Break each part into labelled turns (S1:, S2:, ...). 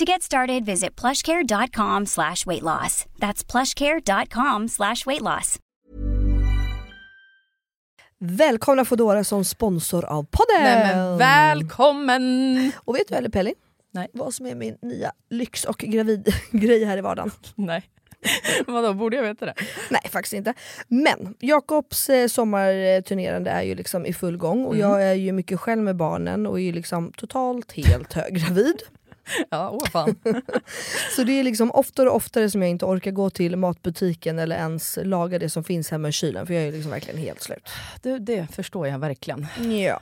S1: To get started, visit plushcare.com slash weight loss. That's plushcare.com slash weight loss.
S2: Välkomna Foodora som sponsor av podden!
S3: Nej men välkommen!
S2: Och vet du eller Pelli?
S3: Nej.
S2: Vad som är min nya lyx och gravidgrej här i vardagen?
S3: Nej. Vadå, borde jag veta det?
S2: Nej faktiskt inte. Men Jakobs eh, sommarturnerande är ju liksom i full gång och
S3: Mm.
S2: jag är ju mycket själv med barnen och är ju liksom totalt helt höggravid.
S3: Ja, åh fan.
S2: Så det är liksom oftare och oftare som jag inte orkar gå till matbutiken eller ens laga det som finns hemma i kylen för jag är ju liksom verkligen helt slut.
S3: Du, det förstår jag verkligen.
S2: Ja.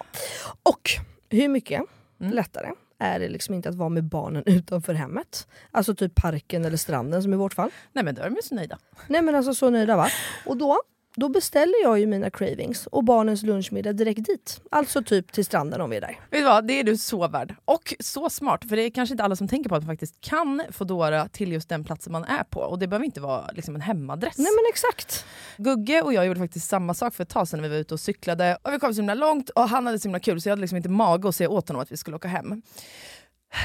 S2: Och hur mycket lättare är det liksom inte att vara med barnen utanför hemmet? Alltså typ parken eller stranden som i vårt fall.
S3: Nej men då är de ju så nöjda.
S2: Nej men alltså så nöjda va? Och då, då beställer jag ju mina cravings och barnens lunchmiddag direkt dit. Alltså typ till stranden om vi är där.
S3: Vet du vad, det är du så värd. Och så smart, för det är kanske inte alla som tänker på att man faktiskt kan Foodora till just den platsen man är på. Och det behöver inte vara liksom en hemadress.
S2: Nej men exakt.
S3: Gugge och jag gjorde faktiskt samma sak för ett tag sedan när vi var ute och cyklade. Och vi kom så himla långt och han hade så himla kul så jag hade liksom inte mage att säga åt honom att vi skulle åka hem.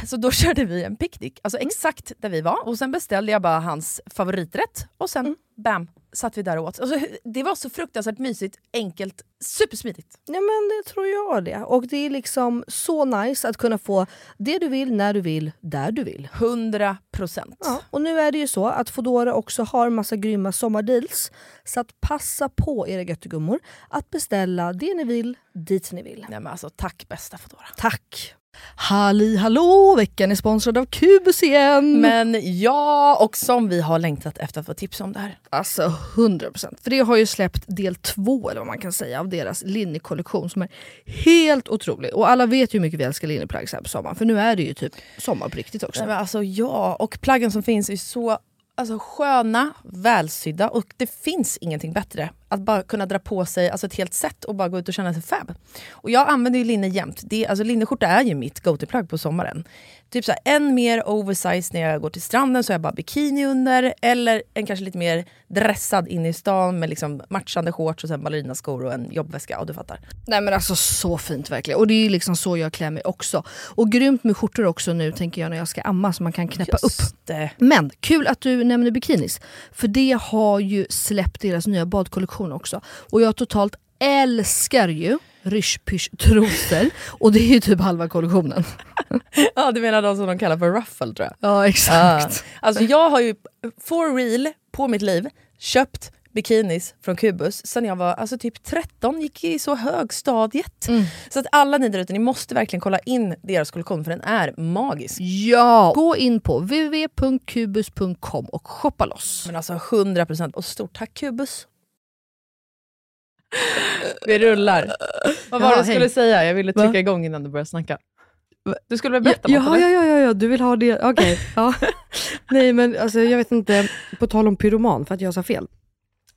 S3: Så då körde vi en picknick, alltså exakt där vi var. Och sen beställde jag bara hans favoriträtt och sen bam, satt vi där och åt. Alltså, det var så fruktansvärt mysigt, enkelt, supersmidigt.
S2: Nej men det tror jag det. Och det är liksom så nice att kunna få det du vill, när du vill, där du vill.
S3: 100 procent.
S2: Ja, och nu är det ju så att Foodora också har massa grymma sommardeals. Så att passa på era göttegummor att beställa det ni vill, dit ni vill.
S3: Nej men alltså tack bästa Foodora.
S2: Tack! Halli hallå! Veckan är sponsrad av Kubus igen!
S3: Men ja, och som vi har längtat efter att få tips om det här.
S2: Alltså 100%. För det har ju släppt del två eller vad man kan säga av deras linnekollektion som är helt otrolig. Och alla vet ju hur mycket vi älskar linneplagg så här på sommaren. För nu är det ju typ sommar på riktigt också.
S3: Nej, men alltså ja, och plaggen som finns är så alltså, sköna, välsydda och det finns ingenting bättre. Att bara kunna dra på sig alltså, ett helt set och bara gå ut och känna sig fab. Och jag använder ju linne jämt. Det, alltså, linneskjorta är ju mitt go-to-plagg på sommaren. Typ så här, en mer oversize när jag går till stranden så har jag bara bikini under. Eller en kanske lite mer dressad in i stan med liksom matchande shorts och sen ballerinaskor och en jobbväska. Ja, du fattar.
S2: Nej men alltså så fint verkligen. Och det är ju liksom så jag klär mig också. Och grymt med skjortor också nu tänker jag när jag ska amma så man kan knäppa upp.
S3: Just det.
S2: Men kul att du nämner bikinis. För det har ju släppt deras nya badkollektion också. Och jag totalt älskar ju rysch-pysch-trosor. och det är ju typ halva kollektionen.
S3: Ja, du menar de som de kallar för ruffle tror jag.
S2: Ja Ah.
S3: Exakt. Alltså jag har ju for real på mitt liv köpt bikinis från Kubus sen jag var alltså typ 13, gick i så högstadiet.
S2: Mm.
S3: Så att alla ni där ute, ni måste verkligen kolla in deras kollektion för den är magisk.
S2: Ja! Gå in på www.kubus.com och shoppa loss.
S3: Men alltså 100% och stort tack Kubus. Vi rullar. Vad var
S2: Ja,
S3: det jag skulle
S2: hej.
S3: säga? Jag ville
S4: Va?
S3: trycka igång innan du började snacka. Du skulle
S4: Ja,
S3: väl berätta något?
S4: ja,
S3: eller?
S4: ja, ja, ja, du vill ha det. Okej. ja. Nej, men alltså, jag vet inte. På tal om pyroman, för att jag sa fel.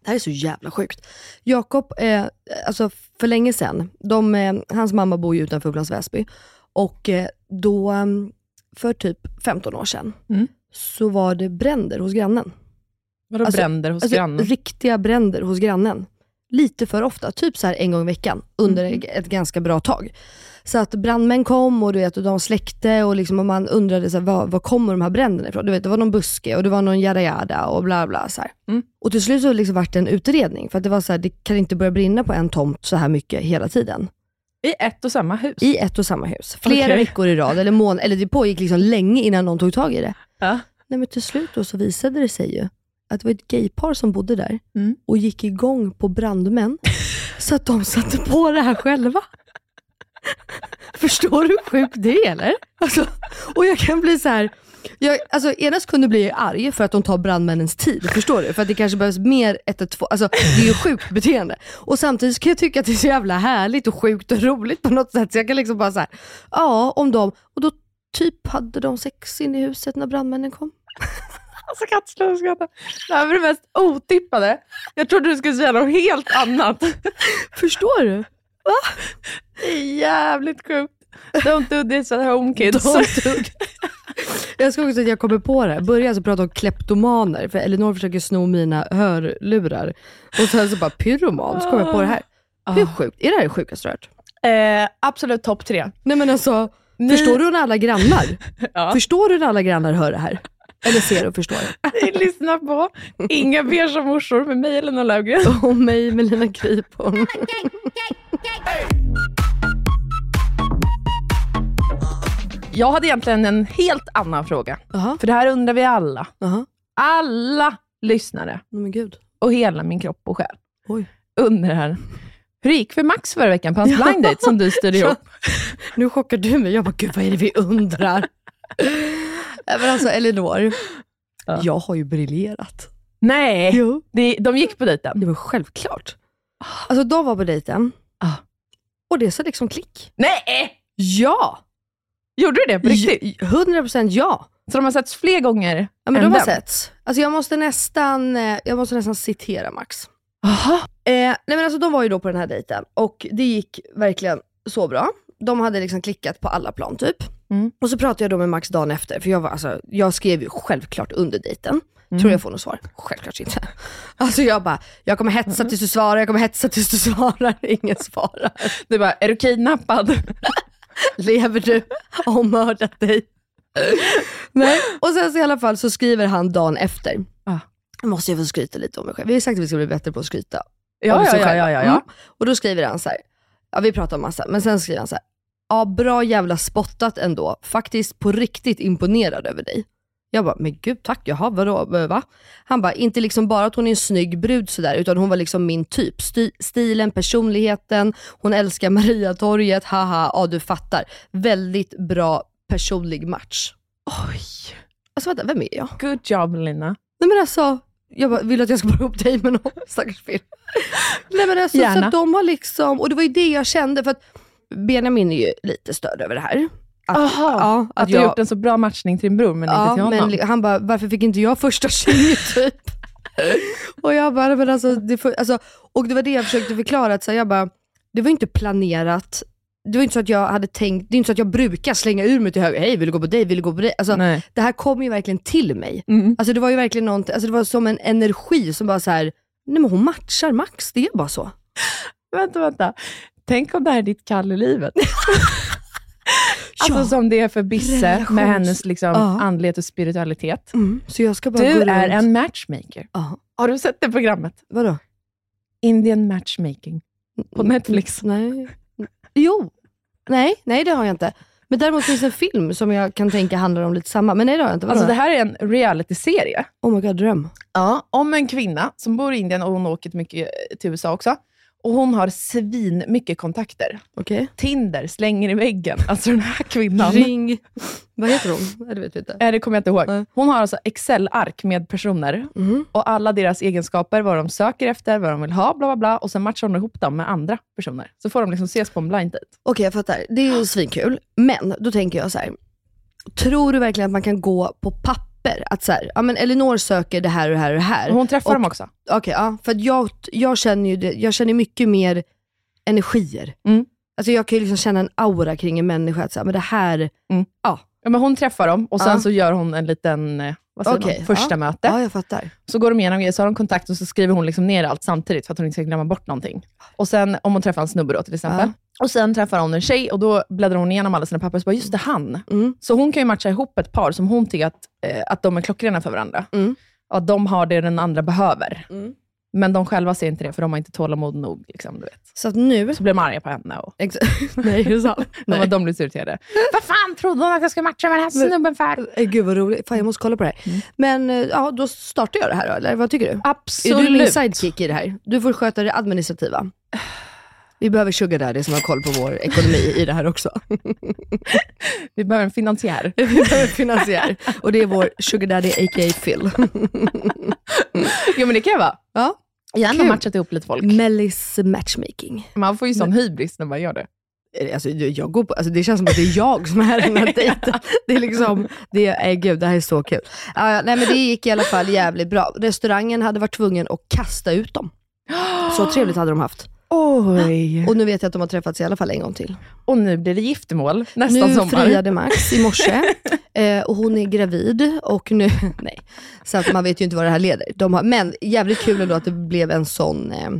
S4: Det här är så jävla sjukt. Jakob, eh, alltså för länge sedan, de, eh, hans mamma bor ju utanför Upplands Väsby. Och eh, då, eh, för typ 15 år sedan,
S3: Mm.
S4: så var det bränder hos grannen.
S3: Vadå
S2: Alltså,
S3: bränder hos
S2: Alltså,
S3: grannen?
S2: Riktiga bränder hos grannen. Lite för ofta, typ så här en gång i veckan under
S3: Mm.
S2: ett ganska bra tag. Så att brandmän kom och, du vet, och de släckte och, liksom, och man undrade så här, var, var kommer de här bränderna ifrån? Du vet, det var någon buske och det var någon yada yada och bla bla. Så här.
S3: Mm.
S2: Och till slut så liksom vart det en utredning för att det var så här, det kan inte börja brinna på en tomt så här mycket hela tiden.
S3: I ett och samma hus?
S2: I ett och samma hus. Flera
S3: Okej.
S2: veckor i rad, eller, mån- eller det pågick liksom länge innan någon tog tag i det.
S3: Ja.
S2: Nej, men till slut då så visade det sig ju att det var ett gaypar som bodde där
S3: Mm.
S2: och gick igång på brandmän så att de satte på det här själva. Förstår du hur sjukt det är eller? Alltså, och jag kan bli så här. Jag, alltså, ena sekunden blir jag arg för att de tar brandmännens tid. Förstår du? För att det kanske behövs mer 112. Alltså, det är ju sjukt beteende. Och samtidigt så kan jag tycka att det är så jävla härligt och sjukt och roligt på något sätt. Så jag kan liksom bara så här, ja om de, och då typ hade de sex inne i huset när brandmännen kom.
S3: Alltså Kattslövsgatan. Det här var det mest otippade. Jag trodde du skulle säga något helt annat.
S2: Förstår du?
S3: Det är jävligt sjukt. Don't do this at home kids.
S2: Jag ska också säga att jag kommer på det här. Börja alltså prata om kleptomaner, för Elinor försöker sno mina hörlurar. Och sen så bara pyroman, så kommer jag på det här.
S3: Ah.
S2: Hur sjukt? Är det här det sjukaste du har hört?
S3: Eh, absolut topp tre.
S2: Nej men alltså,
S3: Ni-
S2: förstår du när alla grannar?
S3: Ja.
S2: Förstår du när alla grannar hör det här? Eller ser och förstår?
S3: Lyssna på Inga beiga morsor med mig eller någon Löfgren.
S2: Och mig med Lina Gripholm.
S3: Jag hade egentligen en helt annan fråga.
S2: Jaha,
S3: För det här undrar vi alla.
S2: jaha.
S3: Alla lyssnare
S2: Nej men gud.
S3: och hela min kropp och själ
S2: Oj.
S3: undrar hur det gick för Max förra veckan på hans blind date som du styrde ihop.
S2: Nu chockar du mig. Jag bara, gud vad är det vi undrar? Nej, men alltså Elinor,
S3: Ja.
S2: jag har ju briljerat.
S3: Nej,
S2: Jo.
S3: det, de gick på dejten.
S2: Det var självklart. Alltså de var på dejten.
S3: Ah.
S2: Och det sa liksom klick.
S3: Nej!
S2: Ja!
S3: Gjorde du det på riktigt?
S2: 100% ja.
S3: Så de har setts fler gånger
S2: ja men
S3: än
S2: de har
S3: den?
S2: setts. Alltså jag måste nästan, eh, jag måste nästan citera Max.
S3: Aha.
S2: Eh, nej men alltså de var ju då på den här dejten och det gick verkligen så bra. De hade liksom klickat på alla plan typ.
S3: Mm.
S2: Och så pratade jag då med Max dagen efter, för jag, var, alltså, jag skrev ju självklart under dejten.
S3: Mm.
S2: Tror jag får något svar? Självklart inte. Alltså jag bara, jag kommer hetsa tills du svarar, jag kommer hetsa tills du svarar. Ingen svarar.
S3: Du bara, är du kidnappad?
S2: Lever du? Har mördat dig? Nej. Och sen så i alla fall så skriver han dagen efter.
S3: Ah.
S2: Måste jag få skryta lite om mig själv? Vi har ju sagt att vi ska bli bättre på att skryta
S3: Ja,
S2: av
S3: ja,
S2: sig
S3: ja,
S2: själva.
S3: ja, ja,
S2: Mm.
S3: ja.
S2: Och då skriver han så här. Ja, vi pratar om massa, men sen skriver han så här. Ja, bra jävla spottat ändå. Faktiskt på riktigt imponerad över dig. Jag bara, men gud tack, jaha vadå, eh, va? Han bara, inte liksom bara att hon är en snygg brud sådär, utan hon var liksom min typ. Sty- stilen, personligheten, hon älskar Mariatorget, haha, ja du fattar. Väldigt bra personlig match.
S3: Oj.
S2: Alltså vänta, vem är jag?
S3: Good job Lina.
S2: Nej men alltså, jag bara, vill du att jag ska bara ihop dig med någon stackars film? Nej men alltså,
S3: Gärna.
S2: så att de har liksom, och det var ju det jag kände, för att Benjamin är ju lite störd över det här. Att,
S3: Aha,
S2: ja,
S3: Att, du har gjort en så bra matchning till din bror, men inte till
S2: ja,
S3: honom.
S2: men li- han bara, varför fick inte jag första tjej typ? och jag bara, men alltså, det får, alltså, och det var det jag försökte förklara, att så här, jag bara, det var ju inte planerat, det var ju inte så att jag hade tänkt, det är inte så att jag brukar slänga ur mig till höger, hej vill du gå på dig, vill du gå på dig? Alltså,
S3: Nej.
S2: det här kom ju verkligen till mig.
S3: Mm.
S2: Alltså det var ju verkligen något, alltså det var som en energi som bara så här, nej men hon matchar Max, det är bara så.
S3: Vänta, vänta. Tänk om det här är ditt kall i livet. Alltså
S2: Ja.
S3: som det är för Bisse
S2: Relations-
S3: med hennes liksom,
S2: Ja.
S3: andlighet och spiritualitet.
S2: Mm, så jag ska bara gå
S3: Du
S2: runt.
S3: är en matchmaker.
S2: Ja,
S3: Har du sett det programmet?
S2: vadå?
S3: Indian matchmaking på Netflix.
S2: Nej. Jo. Nej, nej det har jag inte. Men däremot finns det en film som jag kan tänka handlar om lite samma, men nej det har jag inte. Vadå?
S3: Alltså det här är en realityserie
S2: Oh my god, dröm.
S3: ja. om en kvinna som bor i Indien och hon åker till mycket eh, till USA också. Och hon har svin mycket kontakter.
S2: Okej.
S3: Tinder slänger i väggen. Alltså den här kvinnan.
S2: Ring. Vad heter hon? Nej, det vet vi inte.
S3: Nej, det kommer jag inte
S2: Nej.
S3: ihåg. Hon har alltså Excel-ark med personer
S2: Mhm.
S3: och alla deras egenskaper, vad de söker efter, vad de vill ha, bla bla bla. Och sen matchar hon ihop dem med andra personer. Så får de liksom ses på en blind date.
S2: Okej, jag fattar. Det är ju svinkul. Men då tänker jag så här. Tror du verkligen att man kan gå på papper? Att så här, ja men Elinor söker det här och det här och det här.
S3: Och hon träffar
S2: Och-
S3: dem också.
S2: Okej, ja. För att jag, jag känner ju det, jag känner mycket mer energier.
S3: Mm.
S2: Alltså jag kan ju liksom känna en aura kring en människa. Att så här, men det här,
S3: Ja, men hon träffar dem och sen
S2: Ja.
S3: så gör hon en liten, eh, Vad säger
S2: Okej,
S3: man? Första
S2: ja.
S3: möte.
S2: Ja, jag fattar.
S3: Så går de igenom grejer, så har de kontakt och så skriver hon liksom ner allt samtidigt för att hon inte ska glömma bort någonting. Och sen om hon träffar en snubbe då till exempel. Och sen träffar hon en tjej och då bläddrar hon igenom alla sina papper och så bara, just det, han.
S2: Mm.
S3: Så hon kan ju matcha ihop ett par som hon tycker att, eh, att de är klockrena för varandra.
S2: Mm.
S3: Och att de har det den andra behöver.
S2: Mm.
S3: Men de själva ser inte det, för de har inte tålamod nog. Liksom, du vet.
S2: Så att nu...
S3: Så blir de arga på henne och
S2: Ex- Nej, är det sant?
S3: de,
S2: Nej.
S3: de blir så irriterade. Vad fan trodde hon att jag skulle matcha med den här snubben för?
S2: Eh, Gud vad roligt. Fan, jag måste kolla på det här. Men eh, ja, då startar jag det här då, eller vad tycker du?
S3: Absolut.
S2: Är du min sidekick i det här? Du får sköta det administrativa. Vi behöver sugar daddy som har koll på vår ekonomi i det här också.
S3: Vi behöver en finansiär.
S2: Vi behöver finansiär. Och det är vår sugar daddy a.k.a. Phil.
S3: jo, men det kan jag vara.
S2: Ja.
S3: Jag har ändå
S2: Kul.
S3: matchat ihop lite folk.
S2: Mellis matchmaking.
S3: Man får ju sån hybris när man gör det.
S2: Eh, Alltså, du, jag går på, alltså, det känns som att det är jag som är den här dejten. Det är liksom, det är, eh, gud det här är så kul. Ah, nej men det gick i alla fall jävligt bra. Restaurangen hade varit tvungen att kasta ut dem. Så trevligt hade de haft.
S3: Oj.
S2: Och nu vet jag att de har träffats i alla fall en gång till.
S3: Och nu blir det giftermål nästa
S2: Nu
S3: sommar.
S2: friade Max i morse eh, och hon är gravid och nu, nej. Så att man vet ju inte vad det här leder. De har, men jävligt kul ändå att det blev en sån, eh,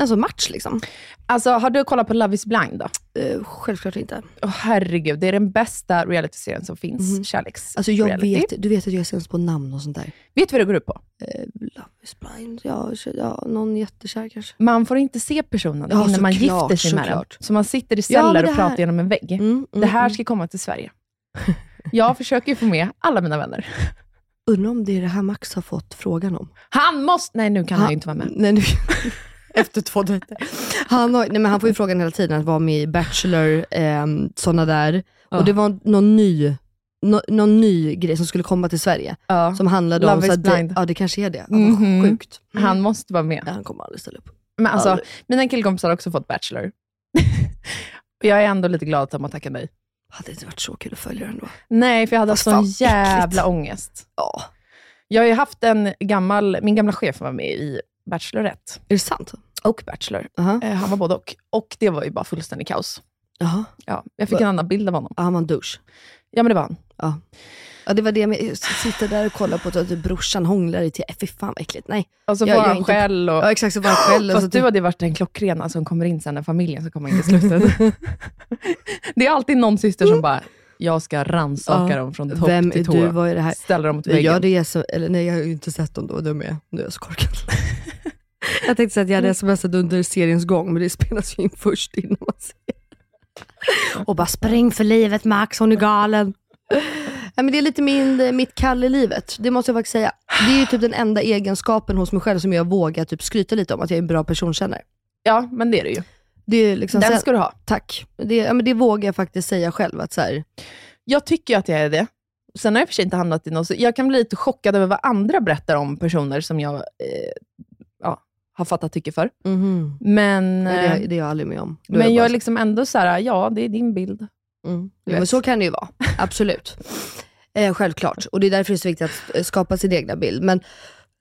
S2: en sån match liksom.
S3: Alltså, har du kollat på Love is blind då?
S2: Eh, självklart inte.
S3: Åh herregud, det är den bästa realityserien som finns. Kärleks
S2: Alltså jag
S3: reality.
S2: vet, du vet att jag är sämst på namn och sånt där.
S3: Vet du vad det går ut på?
S2: Love is blind, ja, ja någon jättekär kanske.
S3: Man får inte se personen
S2: Ja,
S3: innan man
S2: såklart,
S3: gifter sig med den.
S2: såklart.
S3: Så man sitter i
S2: Ja, men
S3: celler
S2: det
S3: och pratar
S2: här-
S3: genom en vägg.
S2: Mm, mm,
S3: Det här
S2: mm.
S3: ska komma till Sverige. Jag försöker ju få med alla mina vänner.
S2: Undrar om det är det här Max har fått frågan om.
S3: Han måste... Nej, nu kan han
S2: Han-
S3: ju inte vara med.
S2: Nej, nu, efter två dejter. Han, har, nej, men han får ju frågan hela tiden att vara med i Bachelor, eh, sådana där.
S3: Ja.
S2: Och det var någon ny, nå- någon ny grej som skulle komma till Sverige.
S3: Ja.
S2: Som handlade om...
S3: Love
S2: så
S3: is
S2: att det,
S3: blind.
S2: ja, det kanske är det. Ja, vad
S3: Mhm.
S2: Sjukt.
S3: Han måste vara med.
S2: Ja, han kommer aldrig ställa upp.
S3: Men alltså,
S2: Aldrig.
S3: mina killkompisar har också fått Bachelor. Och jag är ändå lite glad att de har tackat nej.
S2: Hade inte varit så kul att följa den då?
S3: Nej, för jag hade haft
S2: Fast
S3: sån
S2: fan,
S3: jävla
S2: äckligt.
S3: ångest.
S2: Ja,
S3: Jag har ju haft en gammal... Min gamla chef var med i Bachelorette
S2: är det sant?
S3: och Bachelor.
S2: Jaha.
S3: Eh, han var både och. Och det var ju bara fullständigt kaos.
S2: Jaha.
S3: Ja, jag fick en annan bild av honom.
S2: Ja, han var en douche.
S3: Ja, men det var han.
S2: Ja. ja, det var det med jag sitter där och kollar på att typ brorsan hånglar i te. Fy fan vad äckligt. Nej.
S3: Och så
S2: Jag-
S3: Alltså, får
S2: jag är
S3: han
S2: inte-
S3: skäll. Och...
S2: Ja, alltså, typ- exakt. Så var han själv.
S3: Fast
S2: så
S3: du hade ju varit den klockrena som kommer in sen när familjen ska komma in i slutet. det är alltid någon syster som bara, jag ska rannsaka
S2: Ja.
S3: dem från topp
S2: Vem är
S3: till tå.
S2: du? Vad är det här?
S3: Ställa dem mot
S2: Jag
S3: väggen.
S2: gör det så, eller nej jag har ju inte sett dem då, de är, nu är jag så korkad. jag tänkte säga att jag
S3: Mm.
S2: hade smsat under seriens gång, men det spelas ju in först innan man ser. Och bara spring för livet Max, hon är galen. Ja, men det är lite min, eh, mitt kall i livet, det måste jag faktiskt säga. Det är ju typ den enda egenskapen hos mig själv som jag vågar typ skryta lite om, att jag är en bra personkännare.
S3: Ja, men det är det ju.
S2: Det är liksom
S3: Den
S2: sen,
S3: ska du ha.
S2: Tack. Det, ja, men det vågar jag faktiskt säga själv. Att så här,
S3: Jag tycker ju att jag är det. Sen har jag i och för sig inte hamnat i något, så jag kan bli lite chockad över vad andra berättar om personer som jag eh, ja, har fattat tycke för. Mm-hmm. Men,
S2: nej, det,
S3: eh,
S2: det är jag aldrig med om. Då är
S3: men jag
S2: bara
S3: är liksom ändå så här, ja, det är din bild.
S2: Mm.
S3: Du
S2: Ja, men
S3: vet.
S2: så kan det ju vara, absolut. Eh, självklart, och det är därför det är så viktigt att eh, skapa sin egna bild. Men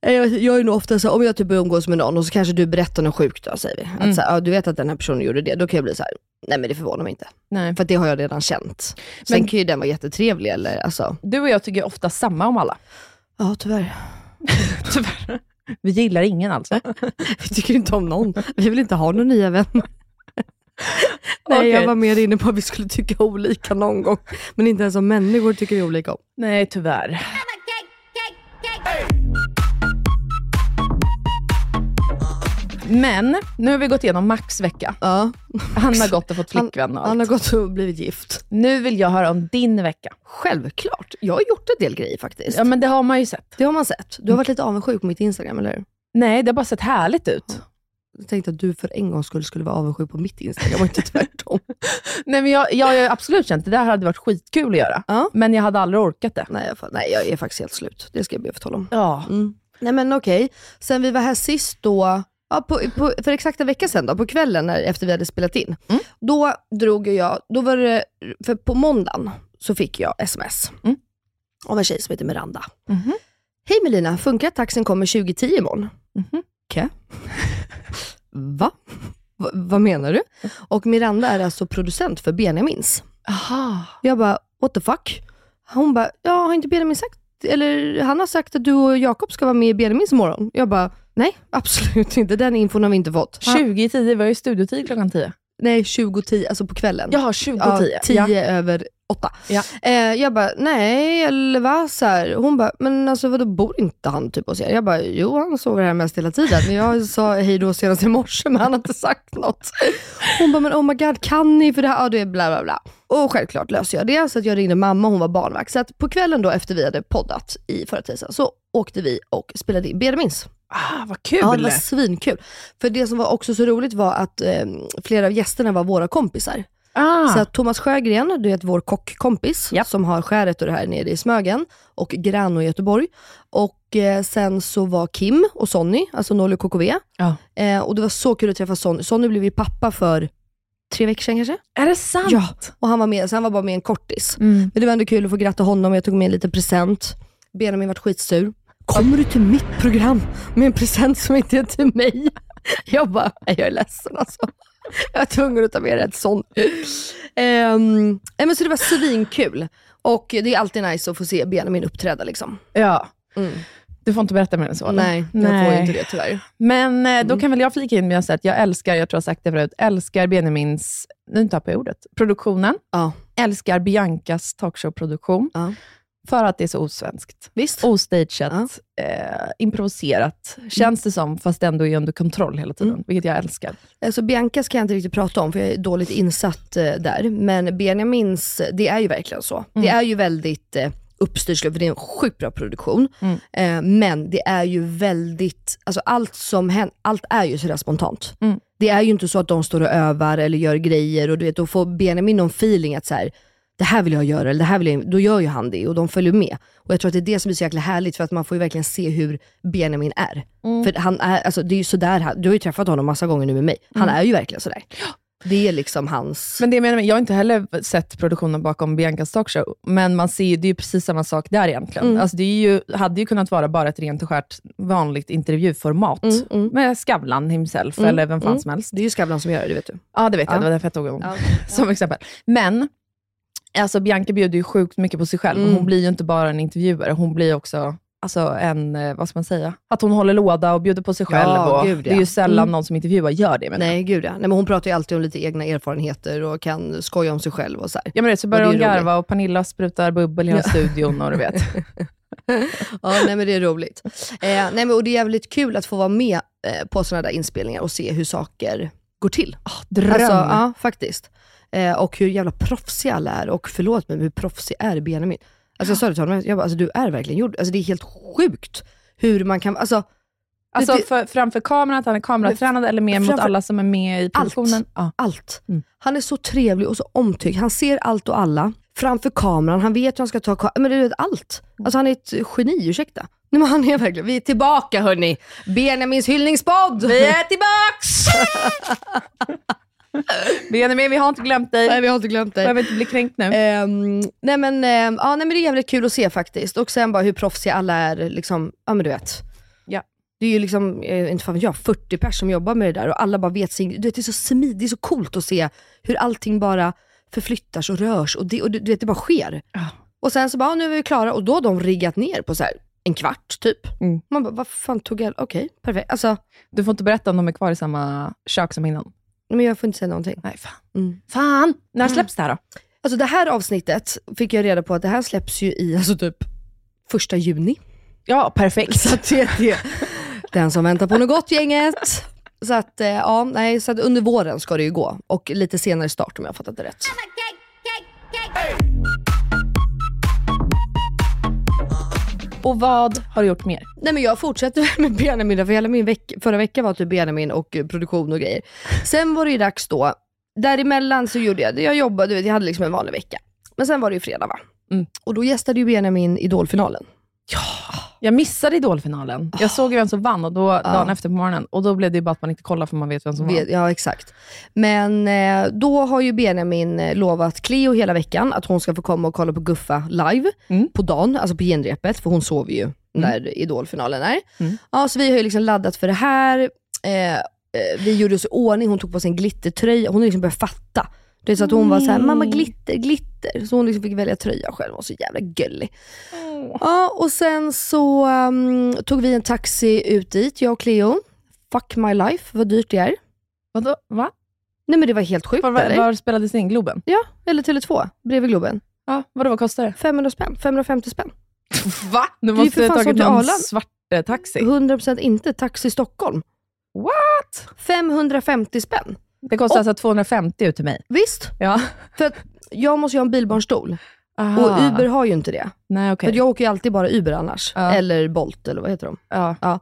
S2: eh, jag- jag är nog ofta så här, om jag typ umgås med någon och så kanske du berättar något sjukt då, säger vi. Att
S3: Mm.
S2: så här, ja, du vet att den här personen gjorde det, då kan jag bli så här, nej men det förvånar mig inte.
S3: Nej.
S2: För att det har jag redan känt. Sen
S3: Men-
S2: kan ju den vara jättetrevlig eller alltså,
S3: Du och jag tycker ofta samma om alla.
S2: ja tyvärr.
S3: Tyvärr. Vi gillar ingen alltså.
S2: Vi tycker inte om någon, vi vill inte ha några nya vänner. Nej jag
S3: Okej.
S2: var mer inne på att vi skulle tycka olika någon gång, men inte ens om människor tycker vi olika om.
S3: Nej, tyvärr. Men nu har vi gått igenom Max vecka.
S2: Ja,
S3: Han har gått och fått flickvän och
S2: han har
S3: allt.
S2: gått och blivit gift.
S3: Nu vill jag höra om din vecka.
S2: Självklart. Jag har gjort en del grejer faktiskt.
S3: Ja, men det har man ju sett.
S2: Det har man sett. Du har varit lite avundsjuk på mitt Instagram, eller hur?
S3: Nej, det har bara sett härligt ut.
S2: Jag tänkte att du för en gångs skull skulle vara avundsjuk på mitt Instagram och inte tvärtom.
S3: Nej, men jag, jag har ju absolut känt det där hade varit skitkul att göra.
S2: Ja.
S3: Men jag hade aldrig orkat det.
S2: nej, jag, fa- nej, jag är faktiskt helt slut. Det ska jag be att få tala om.
S3: Ja.
S2: Mm. Nej men okej, sen vi var här sist då, ja, på, på, för exakt en vecka sedan då, på kvällen när, efter vi hade spelat in. Då drog ju jag, då var det, för på måndagen så fick jag sms
S3: Mm.
S2: av en tjej som heter Miranda.
S3: Mhm.
S2: Hej Melina, funkar att taxin kommer 2010 imorgon?
S3: Mhm.
S2: Okej. Va? Va? Vad menar du? Och Miranda är alltså producent för Benjamins.
S3: Aha.
S2: Jag bara, what the fuck? Hon bara, jag har inte Benjamin sagt eller han har sagt att du och Jakob ska vara med i Benjamins imorgon. Jag bara, nej absolut inte. Den infon har vi inte fått. Han,
S3: 20 i 10, var ju studiotid klockan 10.
S2: nej, 20.10, alltså på kvällen.
S3: Jaha, 20
S2: Ja,
S3: 10.
S2: 10 över 8.
S3: Ja.
S2: Eh, jag bara, nej, eller va? Så här. Hon bara, men alltså vadå, bor inte han typ hos er? Jag bara, jo han sover här mest hela tiden. Jag sa hej då senast i morse, men han har inte sagt något. Hon bara, men oh my god, kan ni? För det här, ja, du är bla bla bla. Och självklart löser jag det, så att jag ringde mamma, hon var barnvakt. Så att på kvällen då, efter vi hade poddat i förra tisdagen, så åkte vi och spelade in Benjamins.
S3: Ah, vad kul!
S2: Ja, det var svinkul. För det som var också så roligt var att eh, flera av gästerna var våra kompisar.
S3: ah.
S2: Så att Thomas Sjögren, du vet vår kockkompis,
S3: Japp.
S2: som har skäret och det här nere i Smögen och Grano i Göteborg. Och eh, sen så var Kim och Sonny, alltså Nolly och KKV.
S3: Ja.
S2: Eh, och det var så kul att träffa Sonny. Sonny blev ju pappa för tre veckor sedan kanske.
S3: är det sant?
S2: Ja. Och han var med, så han var bara med en kortis.
S3: Mm.
S2: Men det var ändå kul att få gratta honom, jag tog med en liten present. Benjamin vart skitsur. Kommer du till mitt program med en present som inte är till mig? Jag bara, "Nej, jag är ledsen alltså. Jag är tvungen att ta med ett sånt. Ehm, nej, men så det var svinkul. Och det är alltid nice att få se Benjamin uppträda liksom.
S3: Ja.
S2: Mm.
S3: Du får inte berätta mer än så? eller?
S2: Nej, jag får ju inte det tyvärr.
S3: Men eh,
S2: Mm.
S3: då kan väl jag flika in med att säga att jag älskar, jag tror jag har sagt det förut, älskar Benjamins, nu tappar jag ordet, produktionen.
S2: Ja,
S3: Älskar Biancas talkshowproduktion.
S2: Ja.
S3: För att det är så osvenskt.
S2: visst.
S3: Ostageat, eh, improviserat,
S2: Mm.
S3: känns det som, fast ändå är under kontroll hela tiden, vilket jag älskar.
S2: Alltså Biancas kan jag inte riktigt prata om, för jag är dåligt insatt eh, där. Men Benjamins, det är ju verkligen så. Det är ju väldigt eh, uppstyrsel, för det är en sjukt bra produktion. Eh, men det är ju väldigt, alltså allt som händer, allt är ju sådär spontant. Det är ju inte så att de står och övar eller gör grejer och du vet, då får Benjamin någon feeling att så här, det här vill jag göra, eller det här vill jag, då gör ju han det och de följer med. Och Jag tror att det är det som är så jäkla härligt, för att man får ju verkligen se hur Benjamin är. För han är, alltså, det är ju sådär, han- du har ju träffat honom massa gånger nu med mig. Han är ju verkligen sådär. Det är liksom hans...
S3: Men det jag menar med, jag har inte heller sett produktionen bakom Biancas talkshow, men man ser ju, det är ju precis samma sak där egentligen.
S2: Mm.
S3: Alltså det är ju, hade ju kunnat vara bara ett rent och skärt vanligt intervjuformat
S2: Mm,
S3: med Skavlan himself, eller vem fan som helst.
S2: Det är ju Skavlan som gör det, det vet du.
S3: Ja, det vet
S2: Ja.
S3: jag. Det var därför jag tog hon som exempel. Men, alltså Bianca bjuder ju sjukt mycket på sig själv.
S2: Mm.
S3: Hon blir ju inte bara en intervjuare, hon blir också alltså en, eh, vad ska man säga? Att hon håller låda och bjuder på sig
S2: Ja,
S3: själv. och
S2: gud,
S3: Det
S2: ja.
S3: är
S2: Mm.
S3: ju sällan någon som intervjuar gör det. Men
S2: Nej, gud ja. Nej, men hon pratar ju alltid om lite egna erfarenheter och kan skoja om sig själv och så här.
S3: Ja, men det, så
S2: Och
S3: börjar
S2: det är Alltså,
S3: hon garva och Pernilla sprutar bubbel i hela studion och du vet.
S2: Ja, nej men det är roligt. Eh, nej, men, och det är jävligt kul att få vara med eh, på sådana där inspelningar och se hur saker går till.
S3: Ah, dröm.
S2: Alltså, ja, faktiskt. Eh, och hur jävla proffsiga alla är. Och förlåt mig, men hur proffsig är Benjamin? Alltså,
S3: Ah.
S2: jag sa det till honom, jag bara, alltså, du är verkligen gjord. Alltså, det är helt sjukt hur man kan, alltså,
S3: Alltså
S2: Det-
S3: för, framför kameran, att han är kameratränad eller mer mot
S2: framför-
S3: alla som är med i
S2: Allt.
S3: produktionen. Ja.
S2: allt.
S3: Mm.
S2: Han är så trevlig och så omtyckt. Han ser allt och alla. Framför kameran, han vet hur han ska ta ka- men du vet allt.
S3: Mm.
S2: Alltså han är ett geni, ursäkta. Nej, men han är verkligen, vi är tillbaka hörni. Benjamins hyllningspodd!
S3: Vi är tillbaks! Benjamin, vi har inte glömt dig.
S2: Nej, vi har inte glömt dig.
S3: Behöver inte bli kränkt nu.
S2: Ehm, nej, men, ehm, ja, nej men det är jävligt kul att se faktiskt. Och sen bara hur proffsiga alla är. Liksom, ja men du vet.
S3: Ja.
S2: Det är ju liksom, eh, inte fan vet jag, 40 personer som jobbar med det där och alla bara vet sin... Du vet, det är så smidigt, det är så coolt att se hur allting bara förflyttas och rörs och det, och du, du vet, det bara sker. Och sen så bara, ja, nu är vi klara och då har de riggat ner på så här en kvart typ.
S3: Mm.
S2: Man bara, vad fan tog jag... Okej, perfekt. Alltså,
S3: Du får inte berätta om de är kvar i samma kök som innan.
S2: men jag får inte säga någonting.
S3: Nej, fan.
S2: Mm.
S3: Fan! När släpps det här då?
S2: Alltså det här avsnittet fick jag reda på att det här släpps ju i alltså typ första juni.
S3: Ja, perfekt.
S2: Så att det är det. Den som väntar på något gott gänget. Så att, eh, ja, nej, så att under våren ska det ju gå och lite senare start om jag har fattat det rätt.
S3: Och vad har du gjort mer?
S2: Nej men jag fortsätter med Benjamin, för hela min veck- förra veckan var typ Benjamin och eh, produktion och grejer. Sen var det ju dags då, däremellan så gjorde jag, jag jobbade, du vet, jag hade liksom en vanlig vecka. Men sen var det ju fredag va?
S3: Mm.
S2: Och då gästade ju Benjamin Idolfinalen.
S3: Jag missade Idolfinalen. Jag såg ju vem som vann och då, dagen efter på morgonen. Och då blev det ju bara att man inte kollar för man Ah. vet vem som vann.
S2: Vet- Ja, exakt. Men eh, då har ju Benjamin eh, lovat Cleo hela veckan att hon ska få komma och kolla på Guffa live
S3: Mm.
S2: på dagen, alltså på genrepet, för hon sover ju när idolfinalen är.
S3: Mm.
S2: Ja, så vi har ju liksom laddat för det här. Eh, eh, vi gjorde oss i ordning, hon tog på sig en glittertröja. Hon har liksom börjat fatta. Det är så att hon var så här,
S3: Mm.
S2: mamma glitter, glitter. Så hon liksom fick välja tröja själv, hon var så jävla gullig.
S3: Mm.
S2: Ja, och sen så um, tog vi en taxi ut dit, jag och Cleo. Fuck my life, vad dyrt det är.
S3: Vadå? Va?
S2: Nej men det var helt sjukt
S3: Var, var,
S2: eller?
S3: var spelades det in? Globen?
S2: Ja, eller Tele2, bredvid Globen.
S3: Ja, vadå, vad kostar det?
S2: 500 spänn, 550 spänn.
S3: Va? Du
S2: ju för
S3: måste ha
S2: fan
S3: tagit
S2: som till
S3: någon
S2: Arlanda.
S3: svart eh, taxi.
S2: 100% inte Taxi Stockholm.
S3: What?
S2: 550 spänn.
S3: Det kostar alltså 250 ut till mig.
S2: Visst,
S3: Ja.
S2: för att jag måste ju ha en bilbarnstol och Uber har ju inte det.
S3: Nej, Ah. okej.
S2: För jag åker ju alltid bara Uber annars,
S3: Ja.
S2: eller Bolt eller vad heter de?
S3: Ja.
S2: Ja,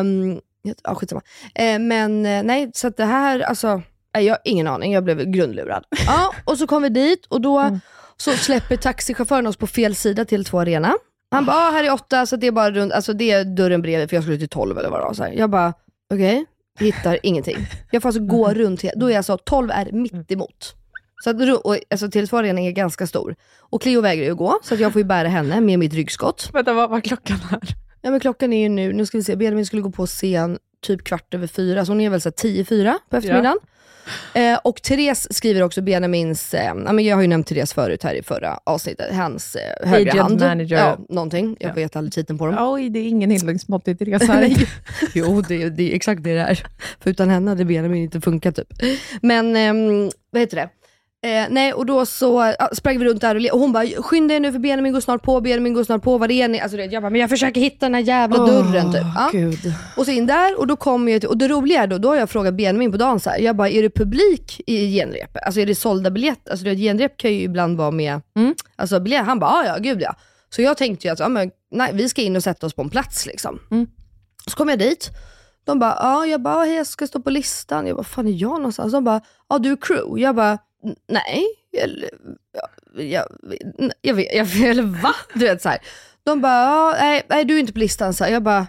S2: um, ja skitsamma. Eh, men eh, nej, så att det här, alltså, nej, jag har ingen aning, jag blev grundlurad. ja, och så kom vi dit och då
S3: Mm.
S2: så släpper taxichauffören oss på fel sida till två arena. Han bara, ah, här är åtta, så det är bara runt, alltså det är dörren bredvid, för jag skulle till tolv eller vad det var. Så här. Jag bara, okej, hittar ingenting. Jag får alltså gå
S3: Mm.
S2: runt, he- då är jag alltså, tolv är mitt emot. Så att, ru- och, alltså till två arena är ganska stor. Och Cleo vägrar ju att gå, så att jag får ju bära henne med mitt ryggskott.
S3: Vänta, vad var klockan här?
S2: Ja men klockan är ju nu, nu ska vi se, Benjamin skulle gå på scen typ kvart över fyra, så hon är väl såhär tio, i fyra på eftermiddagen. Eh, och Therese skriver också Benjamins, eh, ja, men jag har ju nämnt Therese förut här i förra avsnittet, hans eh, högra
S3: Agent,
S2: hand.
S3: manager.
S2: Ja, någonting. Jag vet aldrig titeln på dem.
S3: Oj, det är ingen hyllningsmått i Therese här.
S2: Nej. Jo, det, det är exakt det det är. För utan henne hade Benjamin inte funkat typ. Men, ehm, vad heter det? Eh, nej, och då så ja, sprang vi runt där och, le- och hon bara, skynda er nu för Benjamin går snart på, Benjamin går snart på, var är ni? Alltså, du vet, jag bara, men jag försöker hitta den här jävla dörren typ. Ja.
S3: Gud.
S2: Och så in där och då kommer jag till, och det roliga är då, då har jag frågat Benjamin på dagen så här, jag bara, är det publik i genrepet? Alltså är det sålda biljetter? Alltså du vet, genrep kan ju ibland vara med, alltså biljett, han bara, "Ja, ja gud ja. Så jag tänkte ju att, ja, men, nej, vi ska in och sätta oss på en plats liksom. Så kom jag dit, de bara, ja, jag bara, hej jag ska stå på listan. Jag bara, fan är jag någonstans? De bara, ja du är crew. Jag bara, "N- nej, eller, ja, jag, n- jag vet, jag, eller va? Du vet så här. De bara, ja, nej, nej du är inte på listan. Så här. Jag bara,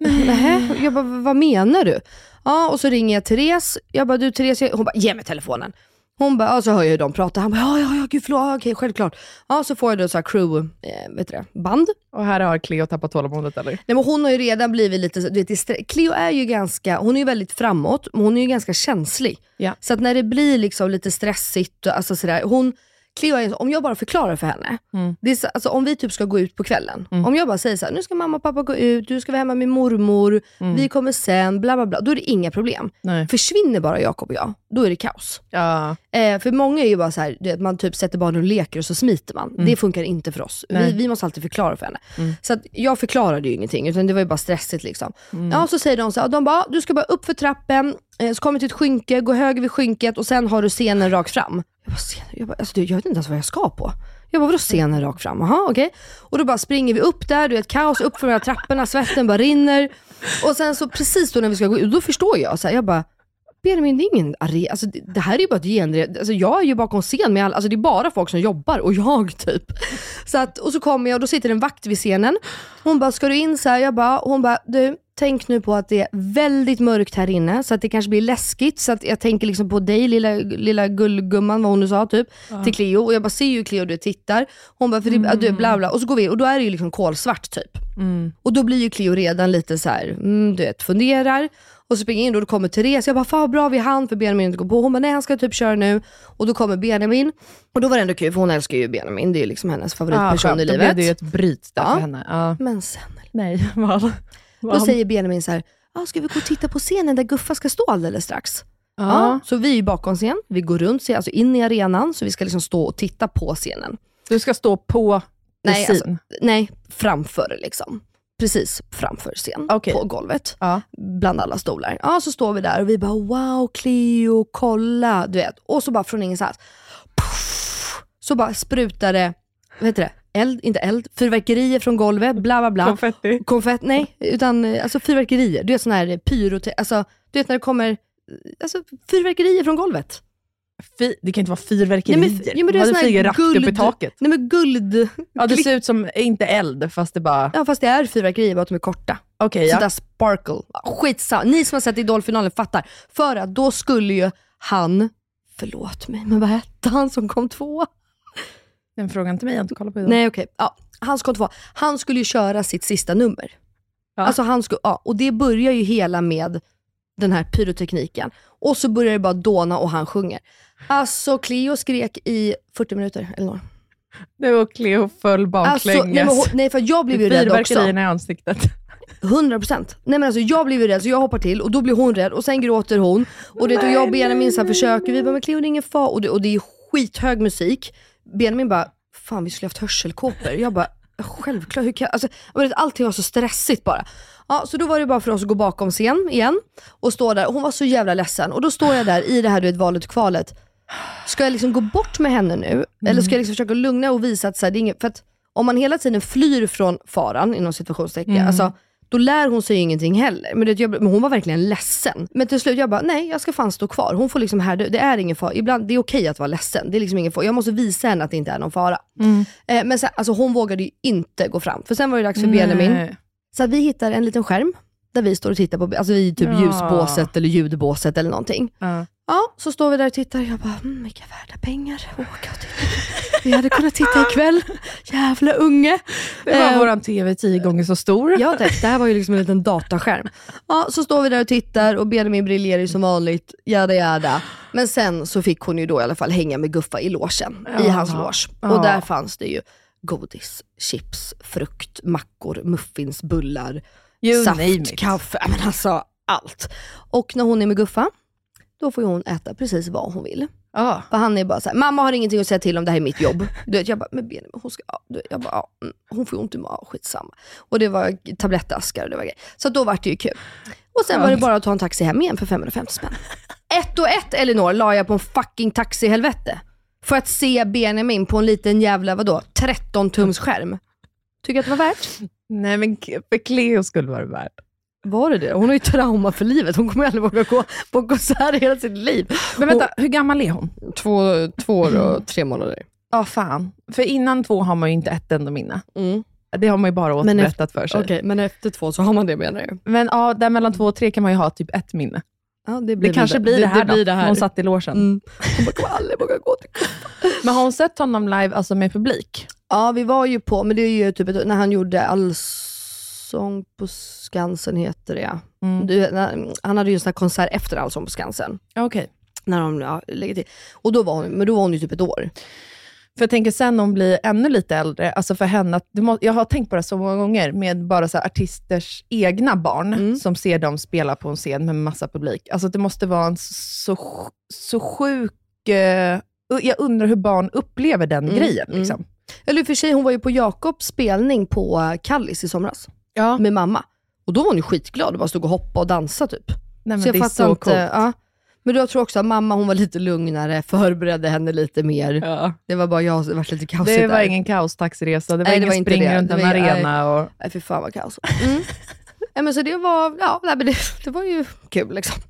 S2: Nähä? Jag bara, vad menar du? Ja, och så ringer jag Therese. Jag bara, du Therese, jag... hon bara, ge mig telefonen. Hon bara, ja, så hör jag hur de pratar. Han bara, ja, ja, ja, gud förlåt, ja, okej, självklart. Ja, så får jag då så här crew, eh, vet du det, band.
S3: Och här har Cleo tappat tålamodet, eller?
S2: Nej, men hon har ju redan blivit lite, så- du vet, distra- Cleo är ju ganska, hon är ju väldigt framåt, men hon är ju ganska känslig.
S3: Ja.
S2: Så att när det blir liksom lite stressigt, och, alltså sådär, hon, Cleo är, ju så- om jag bara förklarar för henne,
S3: Mm.
S2: det är så, alltså, om vi typ ska gå ut på kvällen, om jag bara säger så här: nu ska mamma och pappa gå ut, du ska vara hemma med mormor, vi kommer sen, bla bla bla, då är det inga problem.
S3: Mm. Nej.
S2: Försvinner bara Jakob och jag, då är det kaos.
S3: Ja.
S2: Eh, för många är ju bara så här, du vet, man typ sätter barnen och leker och så smiter man. Det funkar inte för oss. Vi,
S3: Nej.
S2: vi måste alltid förklara för henne. Så att jag förklarade ju ingenting, utan det var ju bara stressigt. Liksom. Ja, så säger de så här, de bara, "Ah, du ska bara upp för trappen, eh, så kommer till ett skynke, gå höger vid skynket och sen har du scenen rakt fram. Jag bara, scenen? Jag, bara, alltså, du, jag vet inte ens vad jag ska på. Jag bara, vadå scenen rakt fram? Jaha, okej. Och då bara springer vi upp där, du vet kaos, upp för de här trapporna, svetten bara rinner. Och sen så precis då när vi ska gå ut, då förstår jag. Så här, jag bara, Benjamin, det är ingen arena. Alltså, det, det här är ju bara ett genre... Alltså, jag är ju bakom scen med alla, alltså, det är bara folk som jobbar och jag typ. Så att, och så kommer jag och då sitter en vakt vid scenen. Hon bara, ska du in så här? Jag bara, hon bara, du tänk nu på att det är väldigt mörkt här inne så att det kanske blir läskigt. Så att jag tänker liksom på dig lilla, lilla gullgumman, vad hon nu sa typ, till Cleo. Och jag bara, ser ju Cleo du tittar. Hon bara, för det, du, bla bla. Och så går vi och då är det ju liksom kolsvart typ. Och då blir ju Cleo redan lite så här, mm, du vet, funderar. Och så springer jag in och då kommer Therese. Jag bara, fan vad bra vi hann för Benjamin inte går på. Hon bara, nej han ska typ köra nu. Och då kommer Benjamin. Och då var det ändå kul för hon älskar ju Benjamin. Det är ju liksom hennes favoritperson i
S3: Då blev
S2: livet.
S3: det ju ett bryt där
S2: Ja.
S3: för henne. Ja.
S2: Men sen,
S3: Nej, vad?
S2: då säger Benjamin så här, ah, ska vi gå och titta på scenen där Guffa ska stå alldeles strax? Ja.
S3: Ja.
S2: så vi är ju bakom scen, vi går runt, scen- alltså in i arenan, så vi ska liksom stå och titta på scenen.
S3: Du ska stå på
S2: Nej,
S3: scen.
S2: alltså, nej, framför liksom. Precis framför scen,
S3: Okej.
S2: på golvet.
S3: Ja.
S2: bland alla stolar. Ja, så står vi där och vi bara wow Cleo, kolla, du vet. Och så bara från ingenstans, puff, så bara sprutar det, vad heter det, eld, inte eld, fyrverkerier från golvet, bla bla bla.
S3: Konfetti.
S2: Konfett, nej, utan eh, alltså fyrverkerier. Du vet sån här pyro, alltså du vet när det kommer, eh, alltså fyrverkerier från golvet.
S3: Fy, det kan inte vara fyrverkerier.
S2: Nej, men, f- ja, men det är
S3: Vad,
S2: sån här
S3: flyger rakt upp i
S2: guld-
S3: taket.
S2: Nej men guld,
S3: Ja, det ser ut som, inte eld, fast det bara...
S2: ja fast det är fyrverkerier bara att de är korta.
S3: Okej,
S2: Så
S3: ja.
S2: där sparkle. Skitsamma. Ni som har sett Idolfinalen fattar. För att då skulle ju han, förlåt mig, men vad hette han som kom två?
S3: Den frågan till mig, jag har inte kollat på det.
S2: Nej okej, ja, han som kom två. Han skulle ju köra sitt sista nummer.
S3: Ja.
S2: Alltså han skulle, ja, och det börjar ju hela med den här pyrotekniken. Och så börjar det bara dåna och han sjunger. Alltså Cleo skrek i 40 minuter eller några.
S3: Nu och Cleo föll
S2: Alltså, nej, men, hon- nej för jag blev ju rädd också.
S3: Fyrverkerierna i ansiktet.
S2: 100 procent. Nej men alltså jag blev ju rädd så jag hoppar till och då blir hon rädd och sen gråter hon. Och, det, och jag och Benjamin så här försöker, vi bara men Cleo det är ingen fara. Och det, och det är skithög musik. Benjamin bara, fan vi skulle haft hörselkåpor. Jag bara, självklart, hur kan jag? Alltså, jag vet, allting var så stressigt bara. Ja, så då var det bara för oss att gå bakom scen igen och stå där. Och Hon var så jävla ledsen och då står jag där i det här du vet, valet och kvalet. Ska jag liksom gå bort med henne nu? Eller ska jag liksom försöka lugna och visa att, så här, det är inget, för att om man hela tiden flyr från faran, inom situationstecken, alltså, då lär hon sig ju ingenting heller. Men, det, jag, men hon var verkligen ledsen. Men till slut, jag bara, nej jag ska fan stå kvar. Hon får liksom här, det är ingen fara. Ibland, det är okej att vara ledsen. Det är liksom ingen fara. Jag måste visa henne att det inte är någon fara. Eh, men sen, alltså, hon vågade ju inte gå fram. För sen var det dags för Benjamin. Så att vi hittar en liten skärm där vi står och tittar på, alltså i typ
S3: Ja.
S2: ljusbåset eller ljudbåset eller någonting.
S3: Ja.
S2: Ja, så står vi där och tittar jag bara, mm, vilka värda pengar. Åka och titta. Vi hade kunnat titta ikväll. Jävla unge.
S3: Det var
S2: Eh,
S3: våran TV tio gånger så stor.
S2: Ja tack, det här var ju liksom en liten dataskärm. Ja, så står vi där och tittar och Benjamin briljerar ju som vanligt, jada jada. Men sen så fick hon ju då i alla fall hänga med Guffa i låsen, i hans loge. Och där fanns det ju godis, chips, frukt, mackor, muffins, bullar,
S3: You name
S2: saft,
S3: it.
S2: kaffe, Ja, men alltså allt. Och när hon är med Guffa, då får ju hon äta precis vad hon vill.
S3: Ja.
S2: För han är bara såhär, mamma har ingenting att säga till om, det här är mitt jobb. Du vet, jag bara, men Benjamin hon ska, ja, du vet, jag bara, ja, mm, hon får ju ont i magen, skitsamma. Och det var tablettaskar och det var grejer. Så då var det ju kul. Och sen var det bara att ta en taxi hem igen för 550 spänn. Ett och ett Elinor la jag på en fucking taxihelvete. För att se Benjamin på en liten jävla, vadå, 13 tums skärm. Tycker att det var värt?
S3: Nej men k- för Cleo skulle vara det värt.
S2: Var det det? Hon har ju trauma för livet. Hon kommer aldrig våga gå på en konsert i hela sitt liv.
S3: Men vänta, hur gammal är hon?
S2: Två, två år och tre månader.
S3: Ja, fan. För innan två har man ju inte ett enda minne. Det har man ju bara
S2: Men
S3: återberättat för sig.
S2: Mm. Okej, men efter två så har man det menar du?
S3: Men ja, där mellan två och tre kan man ju ha typ ett minne.
S2: Ja, det
S3: Det
S2: blir
S3: kanske blir det, här
S2: blir
S3: då,
S2: det här.
S3: hon satt i logen.
S2: Mm. Hon bara, kommer aldrig våga gå till
S3: Men har hon sett honom live, alltså med publik?
S2: Ja, vi var ju på, men det är ju typ ett, när han gjorde Allsång på Skansen, heter det ja. Du, när, han hade ju en sån här konsert efter Allsång på Skansen.
S3: Okej.
S2: När de ja, lägger till. Och då var hon, men då var hon ju typ ett år.
S3: För jag tänker sen när hon blir ännu lite äldre, alltså för henne, att du må, jag har tänkt på det så många gånger, med bara så här artisters egna barn,
S2: Mm.
S3: som ser dem spela på en scen med massa publik. Alltså det måste vara en så, så sjuk... Eh, jag undrar hur barn upplever den
S2: Mm.
S3: grejen. Liksom.
S2: Eller i och för sig, hon var ju på Jakobs spelning på eh, Kallis i somras
S3: Ja,
S2: med mamma. Och då var hon ju skitglad och bara stod och hoppade och dansade typ.
S3: Nej, men
S2: så jag
S3: det är
S2: fattar
S3: så
S2: inte.
S3: coolt.
S2: Ja. Men jag tror också att mamma hon var lite lugnare, förberedde henne lite mer.
S3: Ja.
S2: Det var bara jag som varit lite kaosig
S3: Det
S2: där.
S3: var ingen kaostaxiresa, Alltså, det
S2: Nej,
S3: var
S2: det
S3: ingen
S2: var inte
S3: spring
S2: det.
S3: runt
S2: Det
S3: en
S2: var- nej.
S3: arena. Och,
S2: Nej fy fan vad kaos. Mm. nej, men så det var, ja, nej, men det, det var ju kul liksom.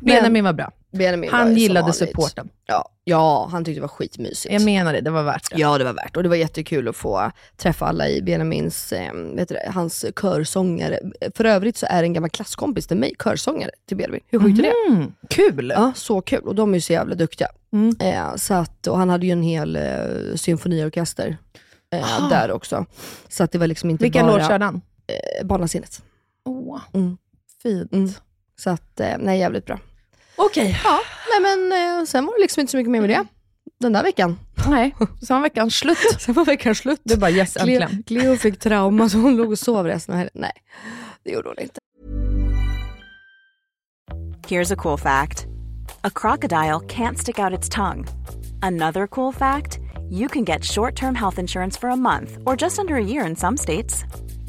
S3: Benjamin var bra.
S2: Benjamin var ju
S3: Han
S2: som
S3: gillade
S2: vanligt.
S3: supporten.
S2: Ja, ja, han tyckte det var skitmysigt.
S3: Jag menar det, det var värt det.
S2: Ja det var värt och det var jättekul att få träffa alla i Benjamins, eh, vet du det, hans körsångare. För övrigt så är en gammal klasskompis till mig körsångare till Benjamin. Hur sjukt är det?
S3: Mm, kul! Mm.
S2: Ja, så kul. Och de är ju så jävla duktiga. Eh, så att, och han hade ju en hel eh, symfoniorkester eh, där också. Så att det var liksom inte
S3: Vilken
S2: bara
S3: låt körde han?
S2: eh, Barnasinnet.
S3: Åh,
S2: Mm.
S3: fint.
S2: Mm. Så att, eh, nej jävligt bra.
S3: Okej. Mm.
S2: Ja, nej men eh, sen var det liksom inte så mycket mer med det. Den där veckan.
S3: Nej, så var veckan slut.
S2: Sen var veckan slut.
S3: Du bara yes,
S2: Cleo,
S3: äntligen.
S2: Cleo fick trauma så hon låg och sov resten av helgen. Nej, det gjorde hon inte.
S5: Here's a cool fact a crocodile can't stick out its tongue. Another cool fact you can get short term health insurance for a month or just under a year in some states.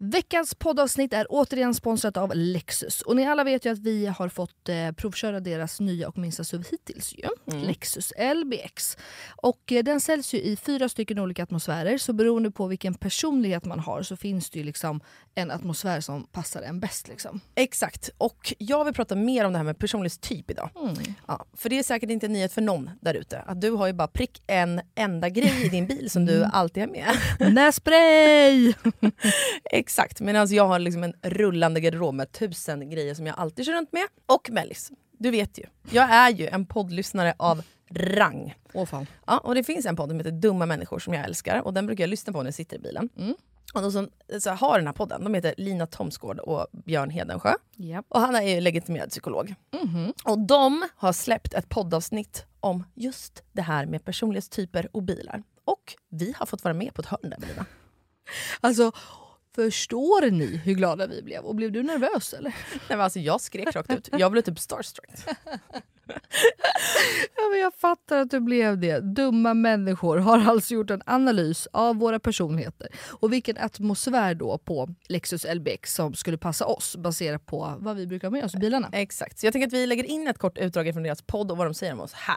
S2: Veckans poddavsnitt är återigen sponsrat av Lexus. Och ni alla vet ju att vi har fått eh, provköra deras nya och minsta SUV hittills. Ju. Lexus LBX. Och eh, den säljs ju i fyra stycken olika atmosfärer. Så beroende på vilken personlighet man har så finns det ju liksom en atmosfär som passar en bäst. Liksom.
S3: Exakt. Och jag vill prata mer om det här med personlighetstyp idag. Ja, för det är säkert inte en nyhet för någon där ute. Att du har ju bara prick en enda grej i din bil som du alltid har med.
S2: Nässpray!
S3: Exakt. Men alltså jag har liksom en rullande garderob med typ tusen grejer som jag alltid kör runt med. Och Mellis, du vet ju. Jag är ju en poddlyssnare av rang.
S2: Åh fan.
S3: Ja, och det finns en podd som heter Dumma människor som jag älskar och den brukar jag lyssna på när jag sitter i bilen.
S2: Mm.
S3: Och de som så här, har den här podden, de heter Lina Thomsgård och Björn Hedensjö.
S2: Japp. Mhm.
S3: Och han är ju legitimerad psykolog. Och de har släppt ett poddavsnitt om just det här med personlighetstyper och bilar. Och vi har fått vara med på ett hörn där Lina.
S2: Alltså, förstår ni hur glada vi blev? Och blev du nervös eller?
S3: Nej, men alltså, jag skrek rakt ut, jag blev typ starstruck.
S2: Ja, men jag fattar att du blev det. Dumma människor har alltså gjort en analys av våra personligheter och vilken atmosfär då på Lexus LBX som skulle passa oss baserat på vad vi brukar ha med oss i bilarna.
S3: Exakt, så jag tänker att vi lägger in ett kort utdrag från deras podd och vad de säger om oss här.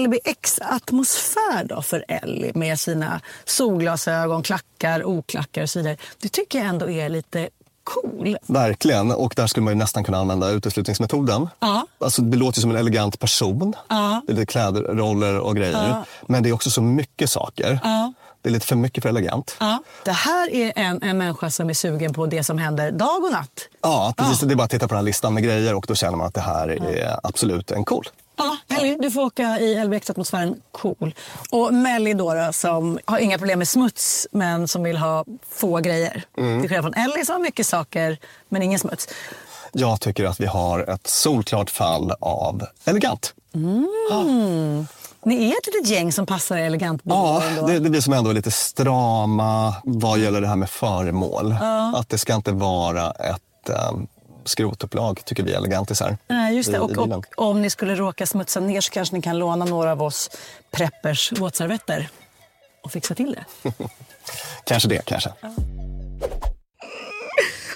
S6: LBX-atmosfär då för Ellie med sina solglasögon, klackar, oklackar och så vidare. Det tycker jag ändå är lite cool.
S7: Verkligen, och där skulle man ju nästan kunna använda uteslutningsmetoden.
S6: Ja.
S7: Alltså, det låter ju som en elegant person.
S6: Ja.
S7: Det är lite kläder, roller och grejer. Men det är också så mycket saker.
S6: Ja.
S7: Det är lite för mycket för elegant.
S6: Ja. Det här är en, en människa som är sugen på det som händer dag och natt.
S7: Ja, precis. Det är bara att titta på den här listan med grejer och då känner man att det här är absolut en cool.
S6: Ja, Ellie, du får åka i LBX-atmosfären cool. Och Melly då, då, som har inga problem med smuts men som vill ha få grejer.
S7: Mm.
S6: Till skillnad från Ellie som har mycket saker men ingen smuts.
S7: Jag tycker att vi har ett solklart fall av elegant.
S6: Mm. Ni är ett litet gäng som passar i elegantbilar.
S7: Ja,
S6: ändå.
S7: det, det blir som ändå lite strama vad gäller det här med föremål. Att det ska inte vara ett um, skrotupplag, tycker vi elegantisar.
S6: Nej, just
S7: i-
S6: det.
S7: i
S6: Och,
S7: bilen.
S6: och om ni skulle råka smutsa ner så kanske ni kan låna några av oss preppers våtservetter och fixa till det.
S7: Kanske det, kanske.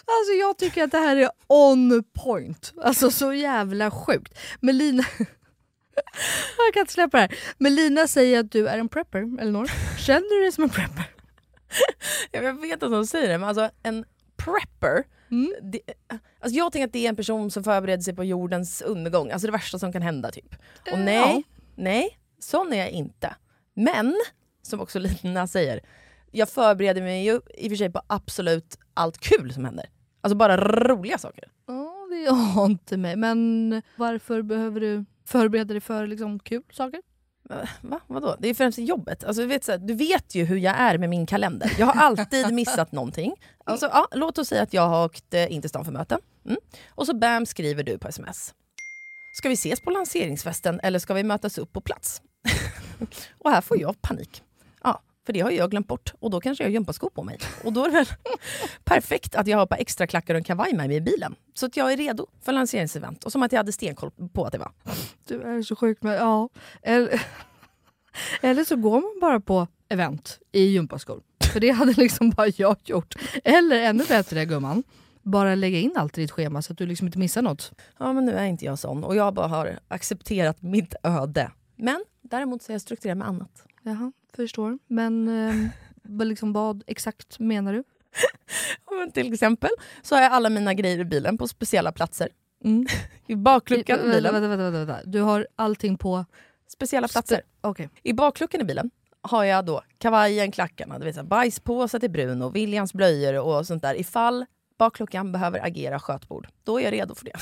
S2: Alltså jag tycker att det här är on point. Alltså så jävla sjukt. Men Lina... Jag kan inte släppa det här. Men Lina säger att du är en prepper, Elinor. Känner du dig som en prepper?
S3: Ja, Jag vet att de säger det, men alltså en prepper.
S2: Mm.
S3: Det, alltså jag tänker att det är en person som förbereder sig på jordens undergång. Alltså det värsta som kan hända typ. Och
S2: Eh,
S3: nej, nej, sån är jag inte. Men, som också Lina säger, jag förbereder mig ju i och för sig på absolut allt kul som händer. Alltså bara roliga saker.
S2: Ja, det har inte mig. Men varför behöver du förbereda dig för liksom, kul saker?
S3: Va? Vadå? Det är främst jobbet. Alltså, du, vet, så här, du vet ju hur jag är med min kalender. Jag har alltid missat någonting. Alltså, ja, låt oss säga att jag har åkt eh, in till stan för möte. Mm. Och så bam skriver du på sms. Ska vi ses på lanseringsfesten eller ska vi mötas upp på plats? och här får jag panik. Ja, för det har ju jag glömt bort. Och då kanske jag har gympaskor på mig. Och då är det väl perfekt att jag har ett par extra klackar och en kavaj med mig i bilen. Så att jag är redo för lanseringsevent. Och som att jag hade stenkoll på att det var.
S2: Du är så sjuk med... Ja. Eller, eller så går man bara på event i gympaskor. För det hade liksom bara jag gjort. Eller ännu bättre gumman, bara lägga in allt i ditt schema så att du liksom inte missar något.
S3: ja men nu är inte jag sån och jag bara har accepterat mitt öde. Men däremot så är jag strukturerad med annat.
S2: Jaha, förstår. Men eh, vad liksom, vad exakt menar du?
S3: Ja, men till exempel så har jag alla mina grejer i bilen på speciella platser.
S2: Mm.
S3: I bakluckan i
S2: vänta,
S3: bilen.
S2: vänta, vänta, vänta. Du har allting på...
S3: Speciella platser.
S2: Okej.
S3: I bakluckan i bilen har jag då kavajen, klackarna, du vet, så här, bajspåsar till Bruno, Williams blöjor och sånt där. Ifall bakluckan behöver agera skötbord, då är jag redo för det.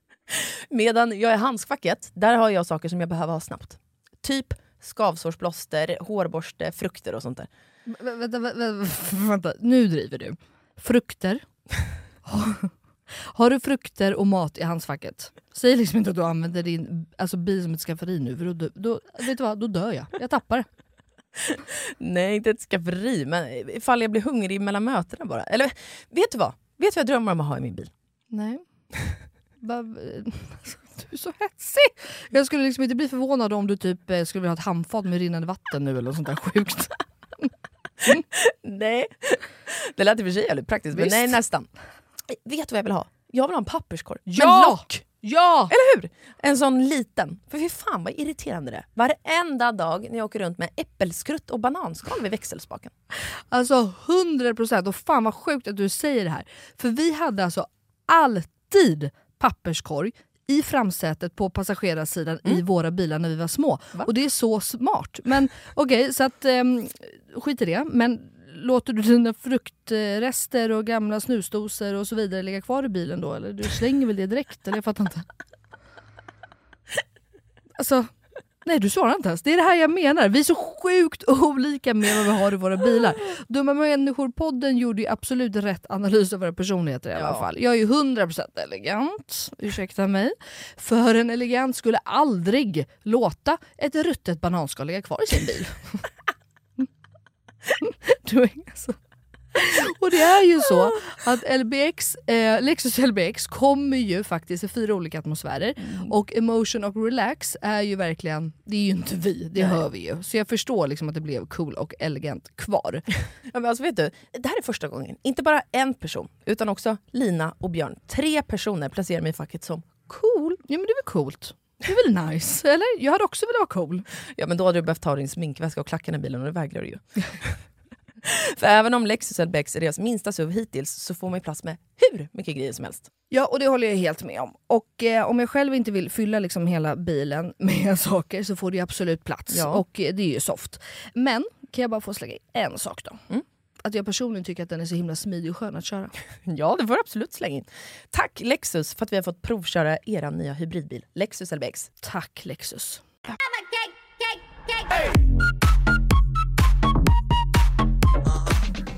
S3: Medan jag i handskfacket, där har jag saker som jag behöver ha snabbt. Typ skavsårsplåster, hårborste, frukter och sånt där.
S8: Vä- Vänta, vä- vä- vänta, nu driver du. Frukter. Har du frukter och mat i handskfacket? Säg liksom inte att du använder din alltså, bil som ett skafferi nu, för då, dö- då, vet du vad, då dör jag. Jag tappar det.
S3: Nej, inte ett skafferi, men ifall jag blir hungrig mellan mötena bara. Eller vet du vad? Vet du vad jag drömmer om att ha i min bil?
S8: Nej. Bara- alltså, Du är så hetsig! Jag skulle liksom inte bli förvånad om du typ eh, skulle vilja ha ett handfat med rinnande vatten nu eller något sånt där sjukt.
S3: Nej. Det lät i och för sig jävligt praktiskt, men
S8: Visst.
S3: nej nästan. Vet du vad jag vill ha? Jag vill ha en papperskorg.
S8: Ja!
S3: Med lock!
S8: Ja!
S3: Eller hur? En sån liten. För fy fan vad irriterande det är. Varenda dag när jag åker runt med äppelskrutt och bananskal vid växelspaken.
S8: Alltså 100 procent, och fan vad sjukt att du säger det här. För vi hade alltså alltid papperskorg i framsätet på passagerarsidan i våra bilar när vi var små. Och det är så smart. Men okej, så att ehm, skit i det. Men låter du dina fruktrester och gamla snusdosor och så vidare ligga kvar i bilen då? Eller du slänger väl det direkt? Eller jag fattar inte. Alltså, nej du svarar inte ens. Det är det här jag menar. Vi är så sjukt olika med vad vi har i våra bilar. Dumma människor-podden gjorde ju absolut rätt analys av våra personligheter i alla fall. Jag är ju 100% elegant, ursäkta mig. För en elegant skulle aldrig låta ett ruttet bananskal ligga kvar i sin bil. du är alltså. Och det är ju så att LBX, eh, Lexus LBX kommer ju faktiskt i fyra olika atmosfärer och emotion och relax är ju verkligen, det är ju inte vi, det hör vi ju. Så jag förstår liksom att det blev cool och elegant kvar.
S3: Ja, men alltså vet du, det här är första gången, inte bara en person, utan också Lina och Björn. Tre personer placerar mig i facket som cool.
S8: Ja men det är väl coolt? Det är väl nice? Eller? Jag hade också velat vara cool.
S3: Ja men då hade du behövt ta din sminkväska och klackarna i bilen och det vägrar du ju. För även om Lexus LBX är deras minsta SUV hittills så får man ju plats med hur mycket grejer som helst.
S8: Ja, och det håller jag helt med om. Och eh, om jag själv inte vill fylla liksom hela bilen med saker så får det ju absolut plats.
S3: Ja.
S8: Och eh, det är ju soft. Men kan jag bara få slänga in en sak då? Att jag personligen tycker att den är så himla smidig och skön att köra.
S3: Ja, det får du absolut slänga in. Tack Lexus för att vi har fått provköra era nya hybridbil, Lexus LBX.
S8: Tack Lexus.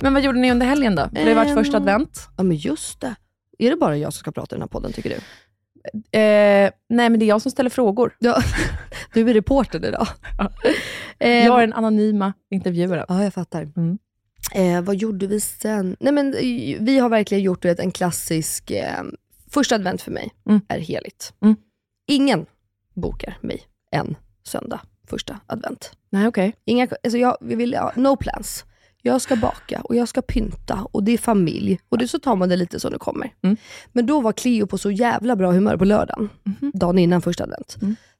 S3: Men vad gjorde ni under helgen då? Det har ju varit
S2: Ehm.
S3: första advent.
S2: Ja men just det. Är det bara jag som ska prata i den här podden tycker du?
S3: Eh, nej, men det är jag som ställer frågor.
S2: Ja, du är reporter idag. Eh,
S3: Jag är den anonyma intervjuaren.
S2: Ja, jag fattar.
S3: Mm.
S2: Eh, vad gjorde vi sen? Nej, men, eh, vi har verkligen gjort du vet, en klassisk... Eh, första advent för mig
S3: Mm.
S2: är heligt.
S3: Mm.
S2: Ingen bokar mig en söndag första advent.
S3: Nej, okej.
S2: Inga, alltså jag, vi vill, ja, no plans. Jag ska baka och jag ska pynta och det är familj. Och det, så tar man det lite som det kommer.
S3: Mm.
S2: Men då var Cleo på så jävla bra humör på lördagen,
S3: Mhm.
S2: dagen innan första advent.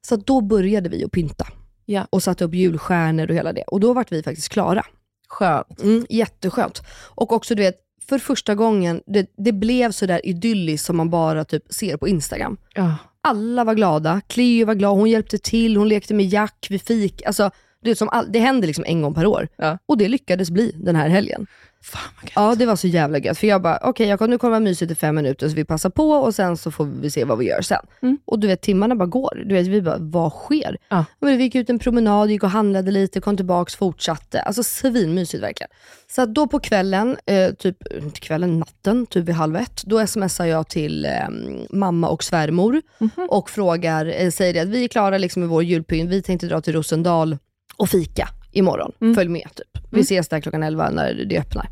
S2: Så att då började vi att pynta.
S3: Mm. Ja.
S2: Och satte upp julstjärnor och hela det. Och då vart vi faktiskt klara.
S3: Skönt.
S2: Mm, jätteskönt. Och också du vet, för första gången, det, det blev sådär idylliskt som man bara typ ser på Instagram.
S3: Ja.
S2: Alla var glada, Cleo var glad, hon hjälpte till, hon lekte med Jack, vi fick. Alltså, det, är som all, det händer liksom en gång per år.
S3: Ja.
S2: Och det lyckades bli den här helgen.
S3: Fan vad gött.
S2: Ja, det var så jävla gött. För jag bara, okej jag kommer- nu kommer det vara mysigt i fem minuter, så vi passar på och sen så får vi se vad vi gör sen. Och du vet, timmarna bara går. Du vet, vi bara, vad sker?
S3: Mm. Ja.
S2: Men vi gick ut en promenad, gick och handlade lite, kom tillbaks, fortsatte. Alltså svinmysigt verkligen. Så att då på kvällen, eh, typ inte kvällen, natten, typ vid halv ett, då smsar jag till eh, mamma och svärmor
S3: Mhm.
S2: och frågar, eh, säger det att vi är klara liksom med vår julpynt, vi tänkte dra till Rosendal och fika imorgon.
S3: Mm.
S2: Följ med typ. Vi ses där klockan 11 när det öppnar.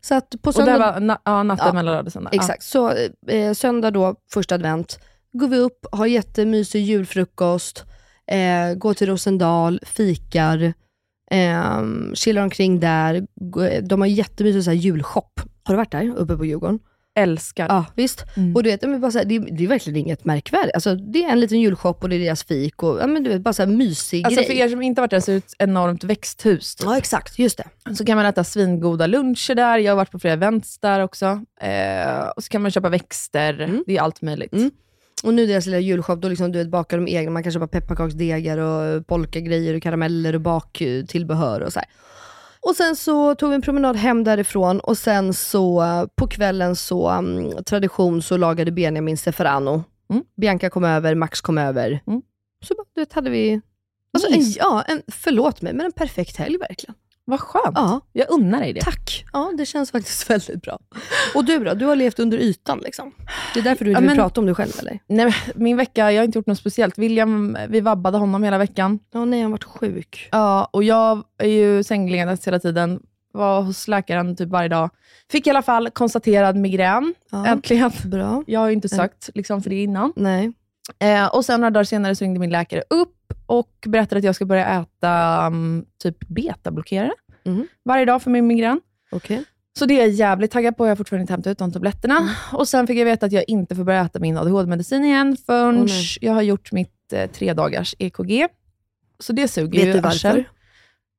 S2: Så att på
S3: Och
S2: söndag...
S3: där var na- ja, natten
S2: Ja.
S3: mellan lördag och söndag. Ja.
S2: Exakt. Så eh, söndag då, första advent, går vi upp, har jättemysig julfrukost, eh, går till Rosendal, fikar, eh, chillar omkring där. Gå- De har jättemysig så här julshop. Har du varit där uppe på Djurgården?
S3: Älskar.
S2: Ja, visst.
S3: Mm.
S2: Och du vet, men bara så här, det, det är verkligen inget märkvärdigt. Alltså, det är en liten julshop och det är deras fik och ja, men du vet, bara så här mysig
S3: Alltså
S2: grej.
S3: för er som inte har varit där så är det ett enormt växthus. typ.
S2: Ja, exakt. Just det.
S3: Så kan man äta svingoda luncher där. Jag har varit på flera events där också. Eh, och så kan man köpa växter. Det är allt möjligt.
S2: Och nu deras lilla julshop, då liksom, du vet, bakar de egna, man kan köpa pepparkaksdegar och eh, polkagrejer och karameller och baktillbehör och så här. Och sen så tog vi en promenad hem därifrån och sen så eh, på kvällen så, mm, tradition, så lagade Mm. Benjamin Seferano. Bianca kom över, Max kom över. Så bara, du vet, hade vi... Alltså, en, ja, en, förlåt mig, men en perfekt helg verkligen.
S3: Vad skönt.
S2: Ja.
S3: Jag unnar dig det.
S2: Tack! Ja, det känns faktiskt väldigt bra. Och du då? Du har levt under ytan liksom. Det är därför du inte
S3: Ja,
S2: vill
S3: men-
S2: prata om dig själv eller?
S3: Nej, men min vecka, jag har inte gjort något speciellt. William, vi vabbade honom hela veckan.
S2: Ja, nej, han har varit sjuk.
S3: Ja, och jag är ju sängliggandes hela tiden. Var hos läkaren typ varje dag. Fick i alla fall konstaterad migrän.
S2: Ja.
S3: Äntligen.
S2: Bra.
S3: Jag har ju inte sökt liksom, för det innan.
S2: Nej.
S3: Eh, och sen några dagar senare så ringde min läkare upp och berättade att jag ska börja äta mm, typ betablockerare
S2: Mm.
S3: varje dag för min migrän.
S2: Okej.
S3: Så det är jag jävligt taggad på. Jag har fortfarande inte hämtat ut de tabletterna.
S2: Mm.
S3: Och sen fick jag veta att jag inte får börja äta min ADHD-medicin igen förrän
S2: Åh, nej.
S3: jag har gjort mitt eh, tre dagars EKG. Så det suger ju
S2: Vet du
S3: arsel.
S2: varför?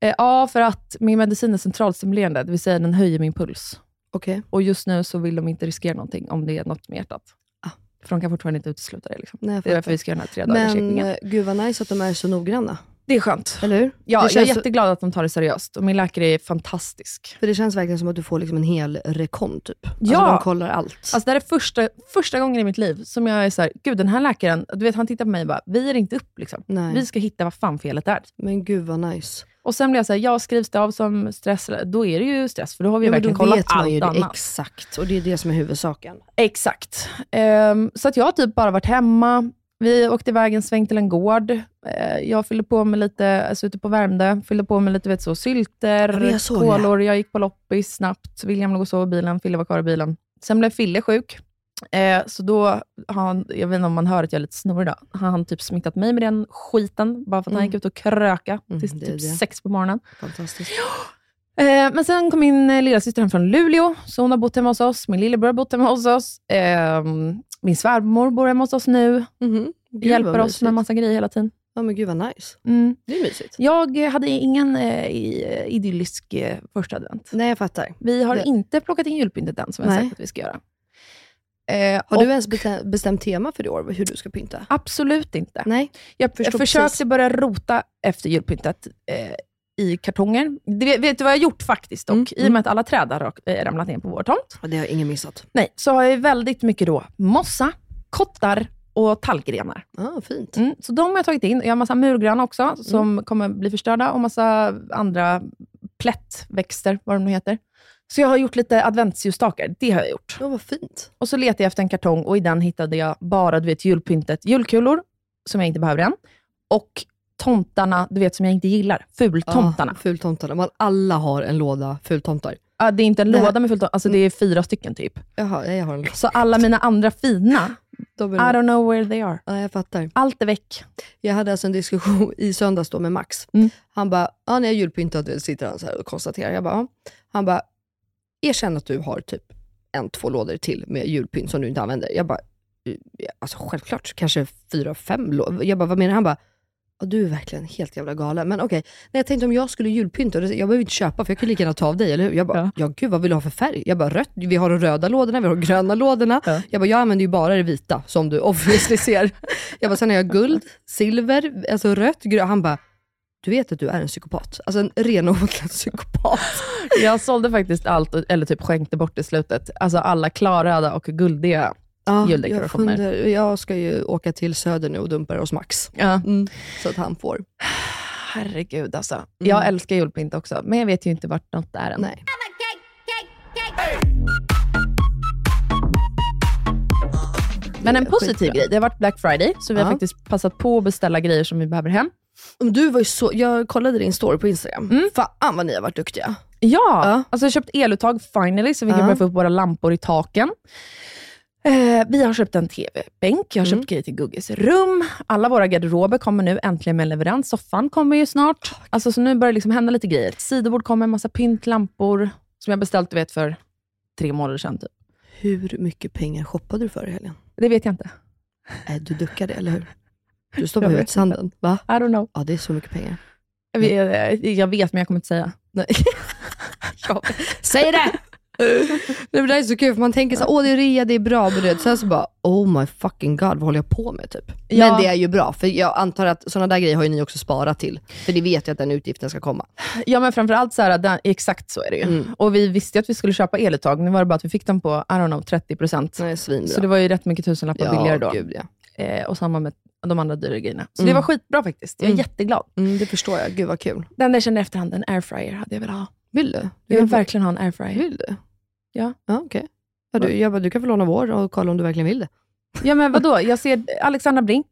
S3: Eh, ja, för att min medicin är centralstimulerande, det vill säga den höjer min puls.
S2: Okej.
S3: Och just nu så vill de inte riskera någonting om det är något med hjärtat.
S2: Ah.
S3: För de kan fortfarande inte utesluta det. Liksom.
S2: Nej, jag
S3: Det är
S2: fattar.
S3: därför vi ska göra den här tre dagars
S2: Men
S3: EKG.
S2: eh, gud vad nice att de är så noggranna.
S3: Det är skönt.
S2: Eller hur?
S3: Ja,
S2: det
S3: jag är
S2: känns,
S3: jätteglad att de tar det seriöst och min läkare är fantastisk.
S2: För det känns verkligen som att du får liksom en hel rekon typ. Alltså,
S3: Ja.
S2: de kollar allt.
S3: Alltså det här är första, första gången i mitt liv som jag är så här, gud den här läkaren, du vet han tittar på mig och bara, vi är inte upp liksom.
S2: Nej.
S3: Vi ska hitta vad fan felet är.
S2: Men gud vad nice.
S3: Och sen blir jag så här, jag skrivs det av som stress, eller- då är det ju stress, för då har vi
S2: Ja, men
S3: verkligen
S2: då
S3: kollat
S2: vet man ju
S3: allt
S2: det
S3: annat.
S2: exakt. Och det är det som är huvudsaken.
S3: Exakt. Ehm, så att jag har typ bara varit hemma. Vi åkte iväg en sväng till en gård. Eh, jag fyllde på med lite, alltså ute på Värmdö, fyllde på med lite vet så,
S2: Ja,
S3: sylter,
S2: men jag såg
S3: kolor. Jag gick på loppis snabbt. William låg och sov i bilen, Fille var kvar i bilen. Sen blev Fille sjuk. Eh, så då har han, jag vet inte om man hör att jag är lite snorig idag, har han typ smittat mig med den skiten, bara för att han
S2: Mm.
S3: gick ut och kröka
S2: Mm,
S3: tills
S2: det är
S3: typ
S2: det.
S3: sex på morgonen.
S2: Fantastiskt.
S3: Eh, men sen kom min eh, lillasyster hem från Luleå, så hon har bott hemma hos oss. Min lillebror har bott hemma hos oss. Ehm, min svärmor bor hemma hos oss nu.
S2: Mhm. Gud,
S3: Mm-hmm. hjälper
S2: vad
S3: oss
S2: mysigt.
S3: med massa grejer hela tiden.
S2: Ja men gud vad nice.
S3: Mm.
S2: Det är mysigt.
S3: Jag eh, hade ingen eh, i- eh, idyllisk eh, första advent.
S2: Nej jag fattar.
S3: Vi har
S2: Det-
S3: inte plockat in julpyntet än, som jag har
S2: Nej.
S3: sagt att vi ska göra. Eh,
S2: Har du
S3: och-
S2: ens bete- bestämt tema för i år, hur du ska pynta?
S3: Absolut inte.
S2: Nej.
S3: Jag, jag
S2: förstår
S3: försökte
S2: precis.
S3: börja rota efter julpyntet eh, i kartonger. Det, vet du vad jag har gjort faktiskt dock?
S2: Mm,
S3: I och
S2: mm.
S3: med att alla träd har rak- eh, ramlat ner på vår tomt.
S2: Det har ingen missat.
S3: Nej, så har jag ju väldigt mycket då mossa, kottar och tallgrenar.
S2: Ah, fint.
S3: Mm, så de har jag tagit in. Jag har massa murgran också, som
S2: Mm.
S3: kommer bli förstörda, och massa andra plättväxter, vad de nu heter. Så jag har gjort lite adventsljusstakar, det har jag gjort.
S2: Ja, vad fint.
S3: Och så letade jag efter en kartong och i den hittade jag bara du vet, julpyntet, julkulor, som jag inte behöver än, och tomtarna, du vet, som jag inte gillar. Fultomtarna.
S2: Ja, fultomtarna. Man, alla har en låda fultomtar.
S3: Ah, det är inte en
S2: Det här- Mm.
S3: låda med fultomtar, alltså det är fyra stycken typ.
S2: Jaha, jag har en
S3: Så alla mina andra fina, I
S2: låda.
S3: don't know where they are.
S2: Ja, jag fattar.
S3: Allt är väck.
S2: Jag hade alltså en diskussion i söndags då med Max.
S3: Mm.
S2: Han bara, ja, när jag julpyntat sitter han så här och konstaterar. Jag bara, ja. Han bara, erkänn att du har typ en, två lådor till med julpynt som du inte använder. Jag bara, "Eh, alltså självklart kanske fyra, fem lådor. Jag bara, vad menar du? Han bara, ja, du är verkligen helt jävla galen. Men okej, när jag tänkte om jag skulle julpynta, och det- jag behöver inte köpa för jag kan lika gärna ta av dig, eller hur? Jag bara,
S3: Ja.
S2: ja. gud vad vill du ha för färg? Jag bara, rött, vi har de röda lådorna, vi har de gröna lådorna.
S3: Ja.
S2: Jag bara, jag använder ju bara det vita som du obviously ser. Jag bara, sen har jag guld, silver, alltså rött, grönt. Han bara, du vet att du är en psykopat. Alltså en renodlad psykopat.
S3: Jag sålde faktiskt allt, eller typ skänkte bort i slutet. Alltså alla klarröda och guldiga.
S2: Ja, jag,
S3: Juldekorationer.
S2: funder, jag ska ju åka till Söder nu och dumpa det hos Max.
S3: Ja.
S2: Så att han får.
S3: Herregud alltså. Jag älskar julpynt också, men jag vet ju inte vart något är än.
S2: Nej.
S3: Men en positiv
S2: Skitbra.
S3: grej, det har varit Black Friday, så vi har
S2: Ja.
S3: faktiskt passat på att beställa grejer som vi behöver hem.
S2: Men Du var ju så, jag kollade din story på Instagram. Fan vad ni har varit duktiga.
S3: Ja,
S2: Ja.
S3: alltså jag har köpt eluttag finally, så vi kan
S2: Ja.
S3: börja få upp våra lampor i taken. Eh, vi har köpt en TV-bänk, jag har
S2: Mm.
S3: köpt grejer till Gugges rum. Alla våra garderober kommer nu äntligen med leverans. Soffan kommer ju snart. Alltså, så nu börjar det liksom hända lite grejer. Ett sidobord kommer, en massa pynt, lampor, som jag beställt du vet, för tre månader sedan. Typ.
S2: Hur mycket pengar shoppade du för i helgen?
S3: Det vet jag inte.
S2: Nej, Äh, du duckade, eller hur? Du stoppade
S3: Jag
S2: huvudet i sanden. Va?
S3: I don't know.
S2: Ja, det är så mycket pengar.
S3: Jag
S2: Mm.
S3: vet, jag vet, men jag kommer inte säga.
S2: Nej. Säg det! Nej, men det här är så kul, för man tänker så här, åh det är rea, det är bra, men du vet, sen så bara, oh my fucking god, vad håller jag på med typ?
S3: Ja.
S2: Men det är ju bra, för jag antar att sådana där grejer har ju ni också sparat till, för ni vet ju att den utgiften ska komma.
S3: Ja, men framförallt så här, den, exakt så är det
S2: Mm.
S3: ju. Och vi visste ju att vi skulle köpa eluttag. Nu var det bara att vi fick dem på, I don't know, 30 procent.
S2: Nej, svinbra.
S3: Så det var ju rätt mycket tusenlappar billigare då.
S2: Gud, ja.
S3: Eh, och samma med de andra dyra grejerna. Så det
S2: Mm.
S3: var skitbra faktiskt. Jag är
S2: Mm.
S3: jätteglad.
S2: Mm, det förstår jag. Gud vad kul.
S3: Det enda jag känner i efterhand, en airfryer hade jag velat ha.
S2: Vill du? du kan
S3: Jag vill
S2: få-
S3: verkligen ha en airfryer.
S2: Vill du?
S3: Ja.
S2: ja okej. Ja, du, jag bara, du kan få låna vår och kolla om du verkligen vill det.
S3: Ja men vadå, jag ser Alexandra Bring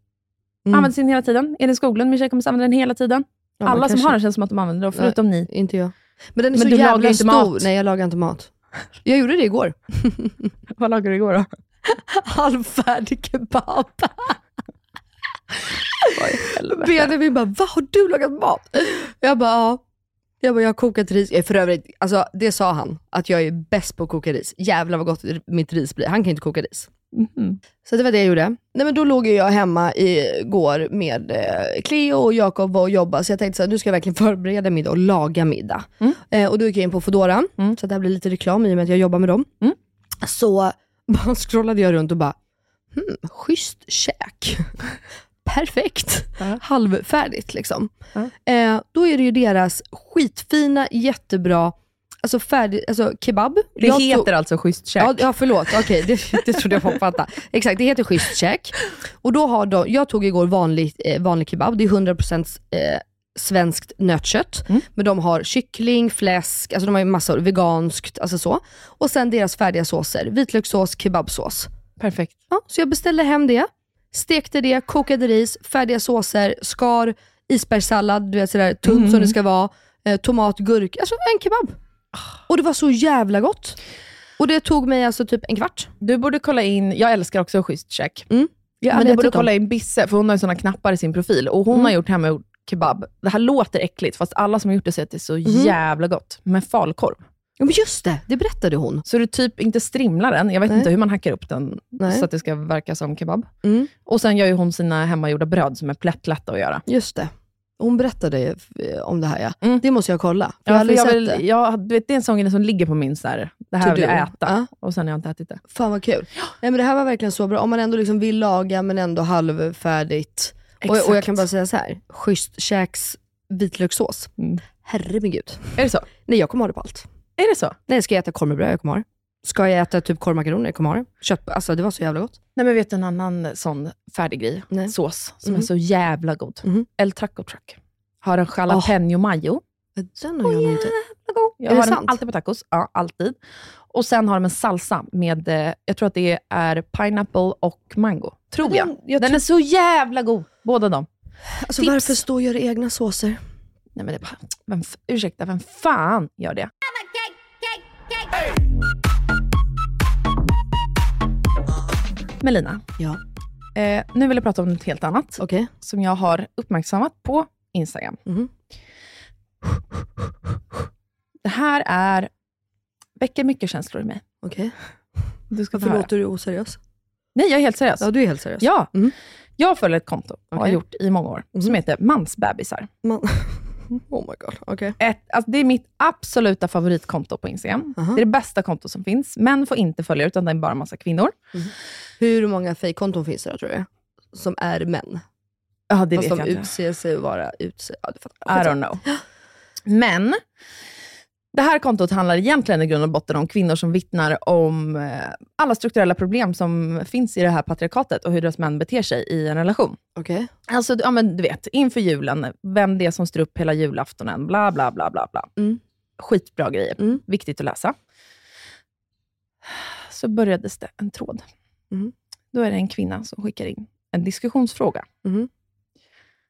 S2: Mm.
S3: använder sin hela tiden. Elin Skoglund, min tjejkompis, använder den hela tiden.
S2: Ja, men
S3: Alla som
S2: kanske-
S3: har den känns som att de använder den, förutom ni.
S2: Inte jag. Men den är
S3: Men
S2: så
S3: du
S2: jävla
S3: lagar inte
S2: stor.
S3: mat.
S2: Nej, jag lagar inte mat. Jag gjorde det igår.
S3: Vad lagade du igår då?
S2: Halvfärdig kebab. Benjamin bara, vad har du lagat mat? Jag bara, ja. Jag bara, jag har kokat ris. Eh, För övrigt, alltså, det sa han, att jag är bäst på att koka ris. Jävlar vad gott mitt ris blir. Han kan inte koka ris.
S3: Mhm.
S2: Så det var det jag gjorde. Nej, men då låg ju jag hemma igår med eh, Cleo och Jakob var och jobbade, så jag tänkte så här, nu ska jag verkligen förbereda middag och laga middag. Eh, och då gick jag in på Foodora, så att det här blir lite reklam i och med att jag jobbar med dem. Så bara scrollade jag runt och bara, hmm, schysst käk. Perfekt. Halvfärdigt liksom. Eh, då är det ju deras skitfina, jättebra, alltså färdig, alltså kebab.
S3: Det
S2: Jag
S3: heter
S2: tog-
S3: alltså schysst käk.
S2: Ja, ja förlåt. Okej, det, det trodde jag var fatta. Exakt, det heter schysst check. Och då har de, jag tog igår vanlig, eh, vanlig kebab, det är 100% eh, svenskt nötkött. Men de har kyckling, fläsk, alltså de har ju massor, veganskt, alltså så. Och sen deras färdiga såser, vitlökssås, kebabsås.
S3: Perfekt.
S2: Ja, så jag beställde hem det, stekte det, kokade ris, färdiga såser, skar, isbergssallad, du vet sådär tunt som det ska vara, eh, tomat, gurk, alltså en kebab. Och det var så jävla gott. Och det tog mig alltså typ en kvart.
S3: Du borde kolla in, jag älskar också schysst check.
S2: Mm.
S3: Ja,
S2: Men Mm.
S3: men
S2: det
S3: du borde
S2: tyckte de.
S3: kolla in Bisse, för hon har ju såna knappar i sin profil. Och Hon har gjort hemmagjord kebab. Det här låter äckligt, fast alla som har gjort det säger att det är så
S2: Mm.
S3: jävla gott. Med falukorv.
S2: Ja, men just det, det berättade hon.
S3: Så du typ inte strimlar den. Jag vet
S2: Nej.
S3: inte hur man hackar upp den
S2: Nej.
S3: så att det ska verka som kebab.
S2: Mm.
S3: Och sen gör ju hon sina hemmagjorda bröd som är plättlätta att göra.
S2: Just det. Hon berättade ju, eh, om det här ja.
S3: Mm.
S2: Det måste jag kolla. för Jag har
S3: Ja, för
S2: aldrig
S3: jag
S2: sett
S3: vill,
S2: det.
S3: jag, du vet, det är en sån grej som ligger på min, så här, det här
S2: To
S3: vill jag
S2: do.
S3: äta.
S2: Ja.
S3: Och sen har jag inte ätit det.
S2: Fan vad kul. Nej, men det här var verkligen så bra. Om man ändå liksom vill laga men ändå halvfärdigt. Och, och jag
S3: Exakt.
S2: kan bara säga så här. schysst käks vitlökssås.
S3: Mm.
S2: Herre min gud.
S3: Är det så?
S2: Nej, jag kommer ha det på allt.
S3: Är det så?
S2: Nej, ska jag äta korv med bröd? Jag kommer ha det. Ska jag äta typ korvmakaroner? Jag kommer ha det. Kött, alltså det var så jävla gott.
S3: Nej, men vet du en annan eh, sån färdig grej?
S2: Nej.
S3: Sås som
S2: Mhm.
S3: är så jävla god.
S2: Mhm.
S3: El Taco Truck. Har en jalapeno mayo.
S2: Den har jag nog inte. Är
S3: Jag
S2: det
S3: har den
S2: sant?
S3: alltid på tacos. Ja, alltid. Och sen har de en salsa med, eh, jag tror att det är pineapple och mango. Tror
S2: Men
S3: jag.
S2: den- jag
S3: den
S2: tror-
S3: är så jävla god, båda dem.
S2: Alltså,
S3: Tips.
S2: varför stå och göra egna såser?
S3: Nej, men det är bara, vem, f- ursäkta, vem fan gör det? Melina,
S2: Ja.
S3: eh, nu vill jag prata om något helt annat.
S2: Okej.
S3: som jag har uppmärksammat på Instagram.
S2: Mhm.
S3: Det här är, väcker mycket känslor i mig.
S2: Okej.
S3: Du ska
S2: Varför
S3: få höra.
S2: låter du oseriös?
S3: Nej, jag är helt seriös. Mm-hmm.
S2: Ja, du är helt seriös.
S3: Ja.
S2: Mm.
S3: Jag följer ett konto, och har
S2: Okej.
S3: gjort i många år, som heter Mansbebisar.
S2: Man... Oh my god, okej.
S3: Ett, alltså det är mitt absoluta favoritkonto på Instagram.
S2: Aha.
S3: Det är det bästa konto som finns. Män får inte följa, utan det är bara en massa kvinnor.
S2: Hur många fejkkonton finns det då, tror du? Som är män?
S3: Ja, det
S2: Fast
S3: vet jag
S2: de
S3: inte.
S2: utser sig att vara utser... Ja, du fattar.
S3: I don't know. Men det här kontot handlar egentligen i grund och botten om kvinnor som vittnar om eh, alla strukturella problem som finns i det här patriarkatet och hur deras män beter sig i en relation.
S2: Okej.
S3: Alltså, du- ja, men du vet, inför julen, vem det är som står upp hela julaftonen, bla bla bla bla. bla.
S2: Mm.
S3: Skitbra grejer.
S2: Mm.
S3: Viktigt att läsa. Så börjades det en tråd.
S2: Mm.
S3: Då är det en kvinna som skickar in en diskussionsfråga.
S2: Mhm.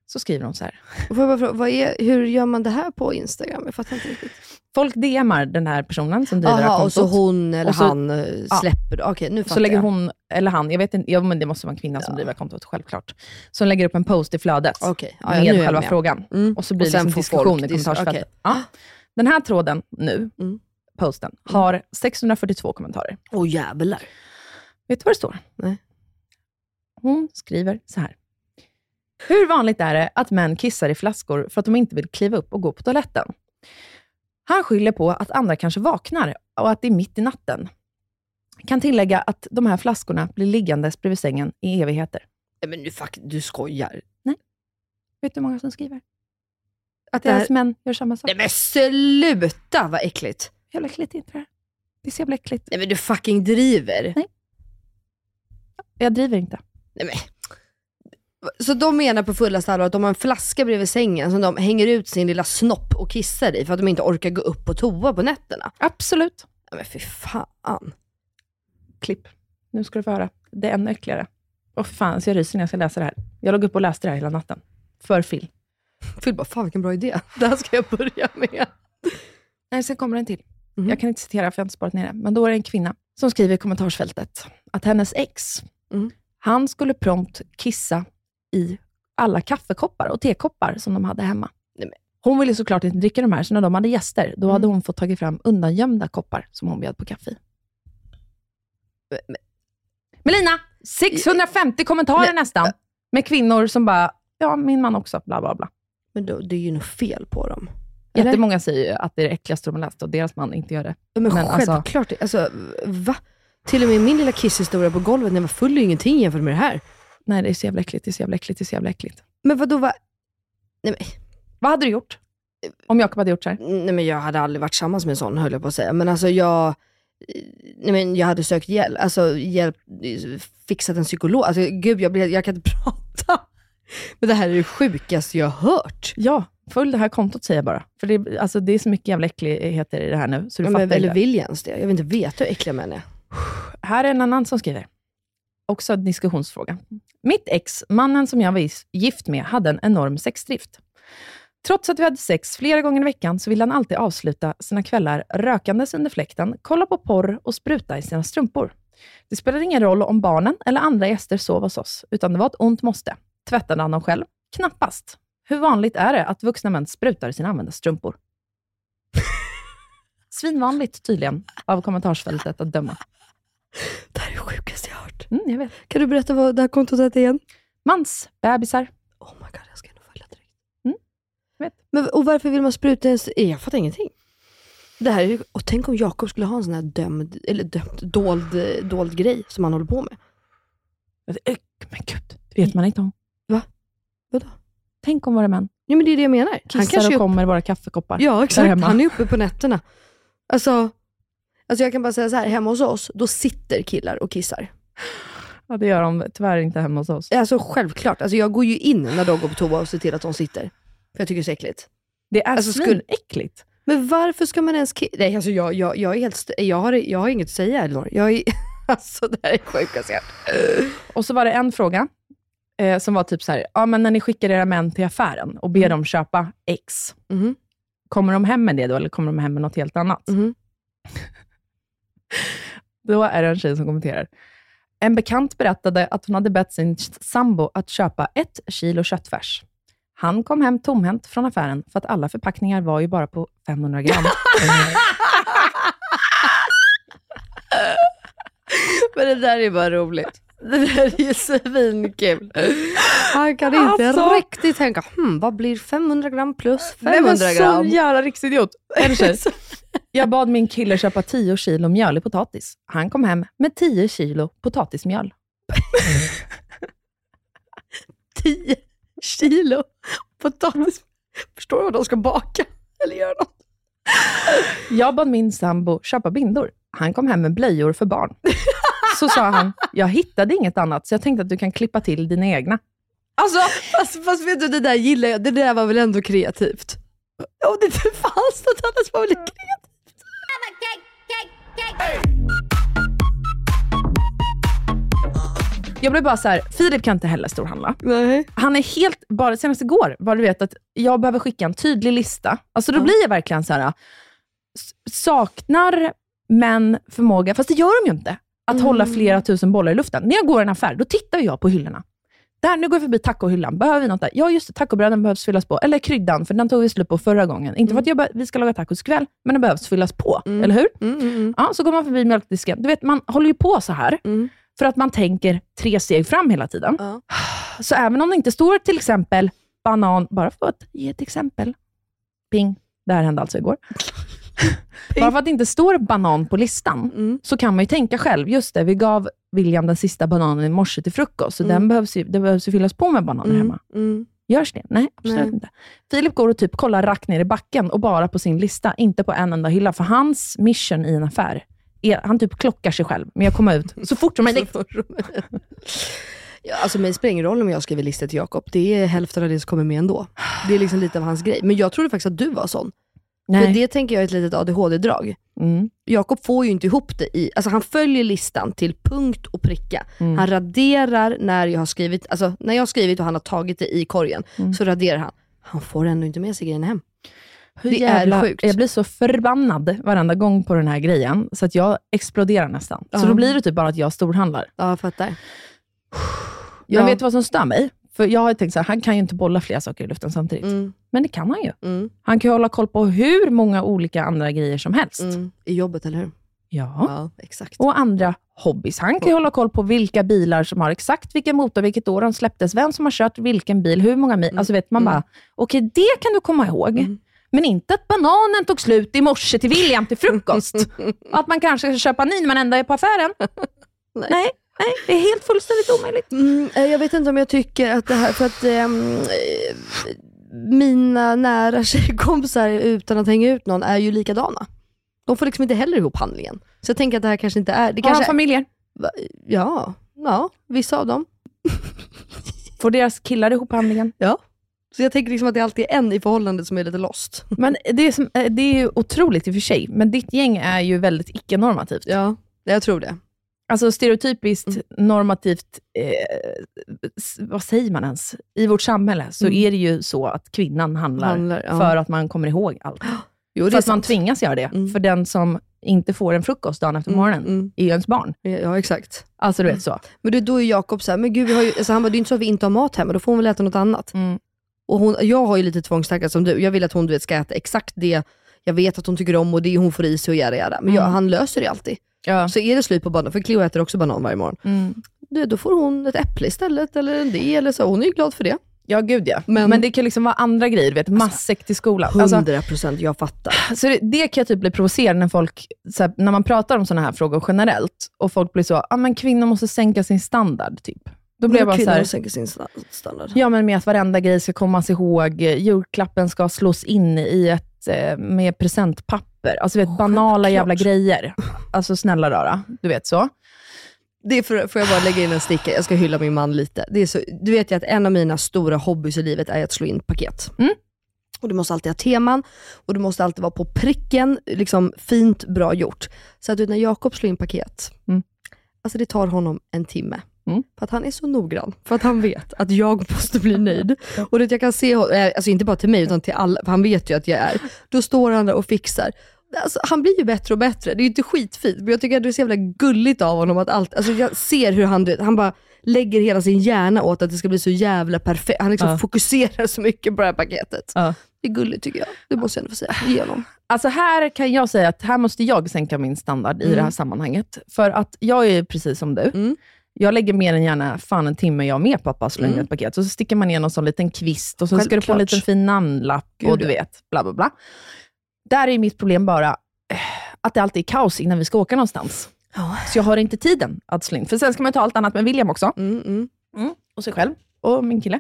S3: Så skriver hon så här.
S2: Och Får jag bara fråga, vad är, hur gör man det här på Instagram? Jag fattar inte riktigt.
S3: Folk DMar den här personen som driver det här
S2: Jaha,
S3: kontot.
S2: och så hon eller
S3: Och så-
S2: han eh, släpper... Okej, nu fattar
S3: Så lägger
S2: jag.
S3: hon, eller han, jag vet inte, ja, men det måste vara en kvinna som driver kontot, självklart. Som lägger upp en post i flödet
S2: Okej, ja, ja, nu är
S3: med
S2: jag
S3: själva
S2: med.
S3: frågan.
S2: Mm.
S3: Och så
S2: Och
S3: blir det
S2: sen
S3: liksom
S2: får
S3: diskussion
S2: folk
S3: i
S2: dis-
S3: kommentarsfältet.
S2: okej. Ah.
S3: Ja. Den här tråden nu,
S2: Mm.
S3: posten, har 642 kommentarer.
S2: Åh jävlar.
S3: Vet du vad det står?
S2: Nej.
S3: Hon skriver så här. Hur vanligt är det att män kissar i flaskor för att de inte vill kliva upp och gå på toaletten? Han skyller på att andra kanske vaknar och att det är mitt i natten. Kan tillägga att de här flaskorna blir liggandes bredvid sängen i evigheter.
S2: Nej, men nu fuck, du skojar.
S3: Vet du hur många som skriver? Att
S2: Det här-
S3: deras män gör samma sak.
S2: Nej men sluta vad äckligt.
S3: Jävla äckligt inte det här. Det är så jävla äckligt.
S2: Nej men du fucking driver.
S3: Jag driver inte.
S2: Nej men. Så de menar på fullaste allvar att de har en flaska bredvid sängen som de hänger ut sin lilla snopp och kissar i för att de inte orkar gå upp på toa på nätterna.
S3: Absolut.
S2: Ja, Men fy fan.
S3: Klipp. Nu ska du få höra. Det är ännu äckligare. Och fan, så jag ryser när jag ska läsa det här. Jag låg upp och läste det här hela natten. För Phil.
S2: Phil bara, fan vilken bra idé. Det här ska jag börja med.
S3: Nej, sen kommer en till.
S2: Mhm.
S3: Jag kan inte citera för jag har inte sparat ner det. Men då är det en kvinna som skriver i kommentarsfältet att hennes ex,
S2: Mm.
S3: han skulle prompt kissa i alla kaffekoppar och tekoppar som de hade hemma.
S2: Nej, men.
S3: Hon ville såklart inte dricka de här, så när de hade gäster, då hade
S2: Mm.
S3: hon fått tagit fram undangömda koppar som hon bjöd på kaffe i. Melina! 650 kommentarer
S2: Men-
S3: nästan, med kvinnor som bara, ja, min man också, bla bla bla.
S2: Men då, det är ju något fel på dem. Eller?
S3: Jättemånga säger ju att det är det äckligaste de har läst och deras man inte gör det.
S2: Ja, men,
S3: Men alltså-
S2: självklart. Alltså, va? Till och med min lilla kisshistoria på golvet när jag var full är ju ingenting jämfört med det här.
S3: Nej, det är så jävla äckligt, det är så jävla äckligt, det är så jävla äckligt.
S2: Men vadå, va? Nej, men,
S3: Vad hade du gjort? Eh, Om Jakob hade gjort så här?
S2: nej, men jag hade aldrig varit tillsammans med en sån höll jag på att säga. Men alltså jag, nej, men jag hade sökt hjälp, alltså hjälp, fixat en psykolog. Alltså gud, jag, blir, jag kan inte prata. Men det här är det sjukaste jag har hört.
S3: Ja, följ det här kontot säger jag bara. För det, alltså, det är så mycket jävla äckligheter i det här nu, så du
S2: Ja,
S3: fattar
S2: men, eller
S3: inte.
S2: vill jag ens det? Jag vill inte veta hur äckliga män är.
S3: Här är en annan som skriver. Också en diskussionsfråga. Mitt ex, mannen som jag var is- gift med, hade en enorm sexdrift. Trots att vi hade sex flera gånger i veckan så ville han alltid avsluta sina kvällar rökandes under fläkten, kolla på porr och spruta i sina strumpor. Det spelade ingen roll om barnen eller andra gäster sov hos oss, utan det var ett ont måste. Tvättade han dem själv? Knappast. Hur vanligt är det att vuxna män sprutar i sina använda strumpor? Svinvanligt tydligen, av kommentarsfältet att döma.
S2: Det här är det sjukaste jag har hört.
S3: Mm, jag vet.
S2: Kan du berätta vad det här kontot hette igen?
S3: Mans, bebisar.
S2: Oh my god, jag ska nog följa direkt.
S3: Mm. Vet.
S2: Men, och varför vill man spruta ens... eh, Jag fattar ingenting. Det här är ju, och tänk om Jakob skulle ha en sån här dömd, eller dömd, dold, eh, dold grej som han håller på med.
S3: Men gud, det vet man inte om.
S2: Vadå?
S3: Tänk om våra män
S2: Ja men det är det jag menar. Han
S3: kissar
S2: kanske
S3: och
S2: är
S3: kommer i våra kaffekoppar.
S2: Ja
S3: där
S2: exakt,
S3: hemma.
S2: han är uppe på nätterna. Alltså, alltså jag kan bara säga så här, hemma hos oss, då sitter killar och kissar.
S3: Ja, det gör de tyvärr inte hemma hos oss.
S2: Alltså självklart, alltså jag går ju in när de går på toa och ser till att de sitter. För jag tycker det är så äckligt.
S3: Det är
S2: Alltså,
S3: alltså,
S2: skulle-
S3: svinäckligt.
S2: Men varför ska man ens ki- Nej, alltså jag, jag, jag är helt... St- jag, har, jag har inget att säga, Elinor. Jag är... Alltså det här är sjukast jag
S3: Och så var det en fråga eh, som var typ så här, ja, men när ni skickar era män till affären och ber dem köpa X,
S2: Mhm.
S3: kommer de hem med det då eller kommer de hem med något helt annat?
S2: Mhm.
S3: Då är det en tjej som kommenterar. En bekant berättade att hon hade bett sin sambo att köpa ett kilo köttfärs. Han kom hem tomhänt från affären, för att alla förpackningar var ju bara på 500 gram.
S2: Men det där är bara roligt. Det där är ju svinkul. Han kan inte
S3: Alltså.
S2: riktigt tänka, hm, vad blir 500 gram plus 500
S3: Nej, men
S2: gram?
S3: Sån jävla riksidiot. Är det så? Jag bad min kille köpa 10 kilo mjölig potatis. Han kom hem med 10 kilo potatismjöl.
S2: 10 kilo potatis. Förstår du vad de ska baka? Eller göra något?
S3: Jag bad min sambo köpa bindor. Han kom hem med blöjor för barn. Så sa han, jag hittade inget annat, så jag tänkte att du kan klippa till dina egna.
S2: Alltså, fast, fast vet du, det där gillar jag. Det där var väl ändå kreativt? Om det inte fanns något annat var väl kreativt?
S3: Jag blev bara så här, Filip kan inte heller storhandla.
S2: Nej.
S3: Han är helt, bara senast igår var det vet att jag behöver skicka en tydlig lista. Alltså då blir jag verkligen så här, s- saknar män förmåga, fast det gör de ju inte, att hålla flera tusen bollar i luften. När jag går i en affär, då tittar jag på hyllorna. Där, nu går jag förbi tacohyllan. Behöver vi något där? Ja, just det. Tacobröden behövs fyllas på. Eller kryddan, för den tog vi slut på förra gången. Inte för att jag be- vi ska laga tacos ikväll, men den behövs fyllas på. Eller hur?
S2: Mm,
S3: Ja, så går man förbi mjölkdisken. Du vet, man håller ju på så här, för att man tänker tre steg fram hela tiden.
S2: Ja.
S3: Så även om det inte står till exempel banan, bara för att ge ett exempel. Ping. Det här hände alltså igår. bara för att det inte står banan på listan,
S2: Mm,
S3: så kan man ju tänka själv. Just det, vi gav William den sista bananen i morse till frukost, så den behövs ju, det behövs ju fyllas på med bananer hemma.
S2: mm.
S3: Görs det? Nej, absolut
S2: Nej.
S3: inte. Filip går och typ kollar rakt ner i backen och bara på sin lista, inte på en enda hylla. För hans mission i en affär, är, han typ klockar sig själv, men jag kommer ut så fort som möjligt.
S2: Ja, Alltså mig spelar ingen roll om jag skriver listor till Jakob. Det är hälften av det som kommer med ändå. Det är liksom lite av hans grej. Men jag trodde faktiskt att du var sån. För det tänker jag är ett litet ADHD-drag.
S3: Mm.
S2: Jakob får ju inte ihop det i, alltså han följer listan till punkt och pricka.
S3: Mm.
S2: Han raderar när jag har skrivit, alltså när jag har skrivit och han har tagit det i korgen,
S3: Mm.
S2: så raderar han. Han får ändå inte med sig grejen hem.
S3: Hur
S2: Det är sjukt.
S3: Jag blir så förbannad varenda gång på den här grejen, så att jag exploderar nästan. Så
S2: Ja.
S3: då blir det typ bara att jag storhandlar.
S2: Ja, jag fattar.
S3: Men
S2: Ja.
S3: vet du vad som stör mig? För jag har ju tänkt så här, han kan ju inte bolla flera saker i luften samtidigt.
S2: Mm,
S3: Men det kan han ju.
S2: mm,
S3: Han kan ju hålla koll på hur många olika andra grejer som helst.
S2: mm. I jobbet, eller hur?
S3: Ja.
S2: exakt.
S3: Och andra hobbys. Han
S2: Mm.
S3: kan ju hålla koll på vilka bilar som har exakt vilken motor, vilket år de släpptes, vem som har kört vilken bil, hur många
S2: Mm.
S3: mil. Alltså vet man bara, okej det kan du komma ihåg. Men inte att bananen tog slut i morse till William till frukost. Och att man kanske ska köpa ny när man ändå är på affären. nej. nej, det är helt fullständigt omöjligt.
S2: Mm, eh, jag vet inte om jag tycker att det här, för att ehm, eh, mina nära tjejkompisar, utan att hänga ut någon, är ju likadana. De får liksom inte heller ihop handlingen. Så jag tänker att det här kanske inte är... Det
S3: Har han
S2: kanske,
S3: familjer?
S2: Va- ja, ja, vissa av dem.
S3: Får deras killar ihop handlingen?
S2: Ja. Så jag tänker liksom att det alltid är en i förhållandet som är lite lost.
S3: Men det är, som, eh, det är ju otroligt i och för sig, men ditt gäng är ju väldigt icke-normativt.
S2: Ja, jag tror det.
S3: Alltså stereotypiskt
S2: Mm.
S3: normativt, eh, s- vad säger man ens? I vårt samhälle så är det ju så att kvinnan handlar,
S2: Mm. Handlar, ja.
S3: för att man kommer ihåg allt.
S2: Jo,
S3: Fast man tvingas göra det. För den som inte får en frukost dagen efter morgonen
S2: mm.
S3: är ju ens barn.
S2: Ja, exakt.
S3: Alltså du vet så.
S2: Men det, då är Jakob så här, men gud, vi har ju, alltså han bara, det är inte så att vi inte har mat hemma, då får hon väl äta något annat.
S3: Mm.
S2: Och hon, jag har ju lite tvångstankar som du. Jag vill att hon du vet, ska äta exakt det jag vet att hon tycker om och det hon får i sig och göra göra. Men jag, han löser det alltid.
S3: Mm. Ja. Mm.
S2: Så är det slut på banan, för Cleo äter också banan varje morgon. Du, då får hon ett äpple istället, eller en del eller så. Hon är ju glad för det.
S3: ja, gud ja.
S2: Men-
S3: Men, det kan liksom vara andra grejer, du vet. Matsäck till skolan. Alltså,
S2: 100 procent, jag fattar.
S3: Så det, det kan jag typ bli provocerad när folk, så här, när man pratar om sådana här frågor generellt, och folk blir så, ah, men kvinnor måste sänka sin standard. typ. Då blir jag bara så
S2: Kvinnor
S3: här,
S2: sänker sin sta- standard.
S3: ja men med att varenda grej ska kommas ihåg, eh, julklappen ska slås in i ett, eh, med presentpapper. Alltså du vet, banala jävla grejer. Alltså snälla rara, du vet så.
S2: Det får, får jag bara lägga in en sticka, jag ska hylla min man lite. Det är så, du vet ju att en av mina stora hobbys i livet är att slå in paket. Och Du måste alltid ha teman och du måste alltid vara på pricken, liksom fint, bra gjort. Så att du, vet, när Jakob slår in paket,
S3: Mm.
S2: alltså det tar honom en timme.
S3: Mm.
S2: För att han är så noggrann, för att han vet att jag måste bli nöjd. Och det jag kan se, hon- eh, alltså inte bara till mig, utan till alla, för han vet ju att jag är. Då står han där och fixar. Alltså, han blir ju bättre och bättre. Det är ju inte skitfint, men jag tycker att det är så jävla gulligt av honom. att allt, alltså Jag ser hur han, du vet, han bara lägger hela sin hjärna åt att det ska bli så jävla perfekt. Han liksom
S3: Ja.
S2: fokuserar så mycket på det här paketet.
S3: Ja.
S2: Det är gulligt tycker jag. Det måste jag ändå få säga. Ge honom.
S3: Alltså här kan jag säga att här måste jag sänka min standard i det
S2: Mm.
S3: här sammanhanget. För att jag är ju precis som du. Jag lägger mer än gärna fan en timme jag med pappa slänger ett paket. Så, så sticker man ner någon sån liten kvist och så ska du få en
S2: Mm. Självklart.
S3: liten fin namnlapp och
S2: Gud,
S3: du
S2: ja.
S3: vet, bla bla bla. Där är mitt problem bara eh, att det alltid är kaos innan vi ska åka någonstans. Så jag har inte tiden att slå in. För sen ska man ju ta allt annat med William också.
S2: Mm, mm.
S3: Mm, och sig själv och min kille.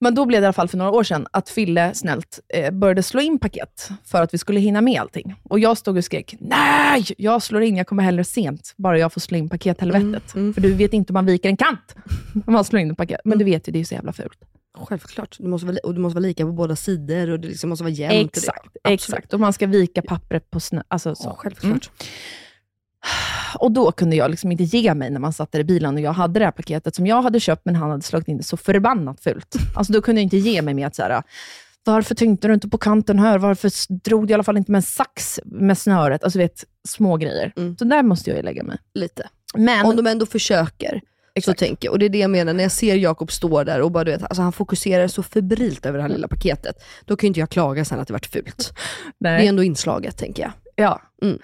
S3: Men då blev det i alla fall för några år sedan att Fille snällt eh, började slå in paket för att vi skulle hinna med allting. Och jag stod och skrek, nej! Jag slår in, jag kommer hellre sent, bara jag får slå in pakethelvetet. För du vet inte om man viker en kant om man slår in ett paket. Men du vet ju, det är så jävla fult.
S2: Självklart. Du måste, vara, li- och du måste vara lika på båda sidor och det liksom måste vara jämnt. och det-
S3: Exakt,
S2: Absolut.
S3: exakt. Och man ska vika pappret på snö. Alltså, så.
S2: Ja, självklart.
S3: Och då kunde jag liksom inte ge mig när man satt där i bilen och jag hade det här paketet som jag hade köpt, men han hade slagit in det så förbannat fult. Alltså då kunde jag inte ge mig med att så här, varför tänkte du inte på kanten här? Varför s- drog du i alla fall inte med en sax med snöret? Alltså du vet, små grejer.
S2: Mm.
S3: Så där måste jag ju lägga mig.
S2: Lite.
S3: Men,
S2: Om de ändå försöker.
S3: Exakt.
S2: Så tänker jag. Och det är det jag menar, när jag ser Jakob stå där och bara, du vet, alltså han fokuserar så febrilt över det här
S3: Mm.
S2: lilla paketet. Då kan ju inte jag klaga sen att det varit fult. Det är
S3: nej,
S2: ändå inslaget tänker jag.
S3: ja.
S2: Mm.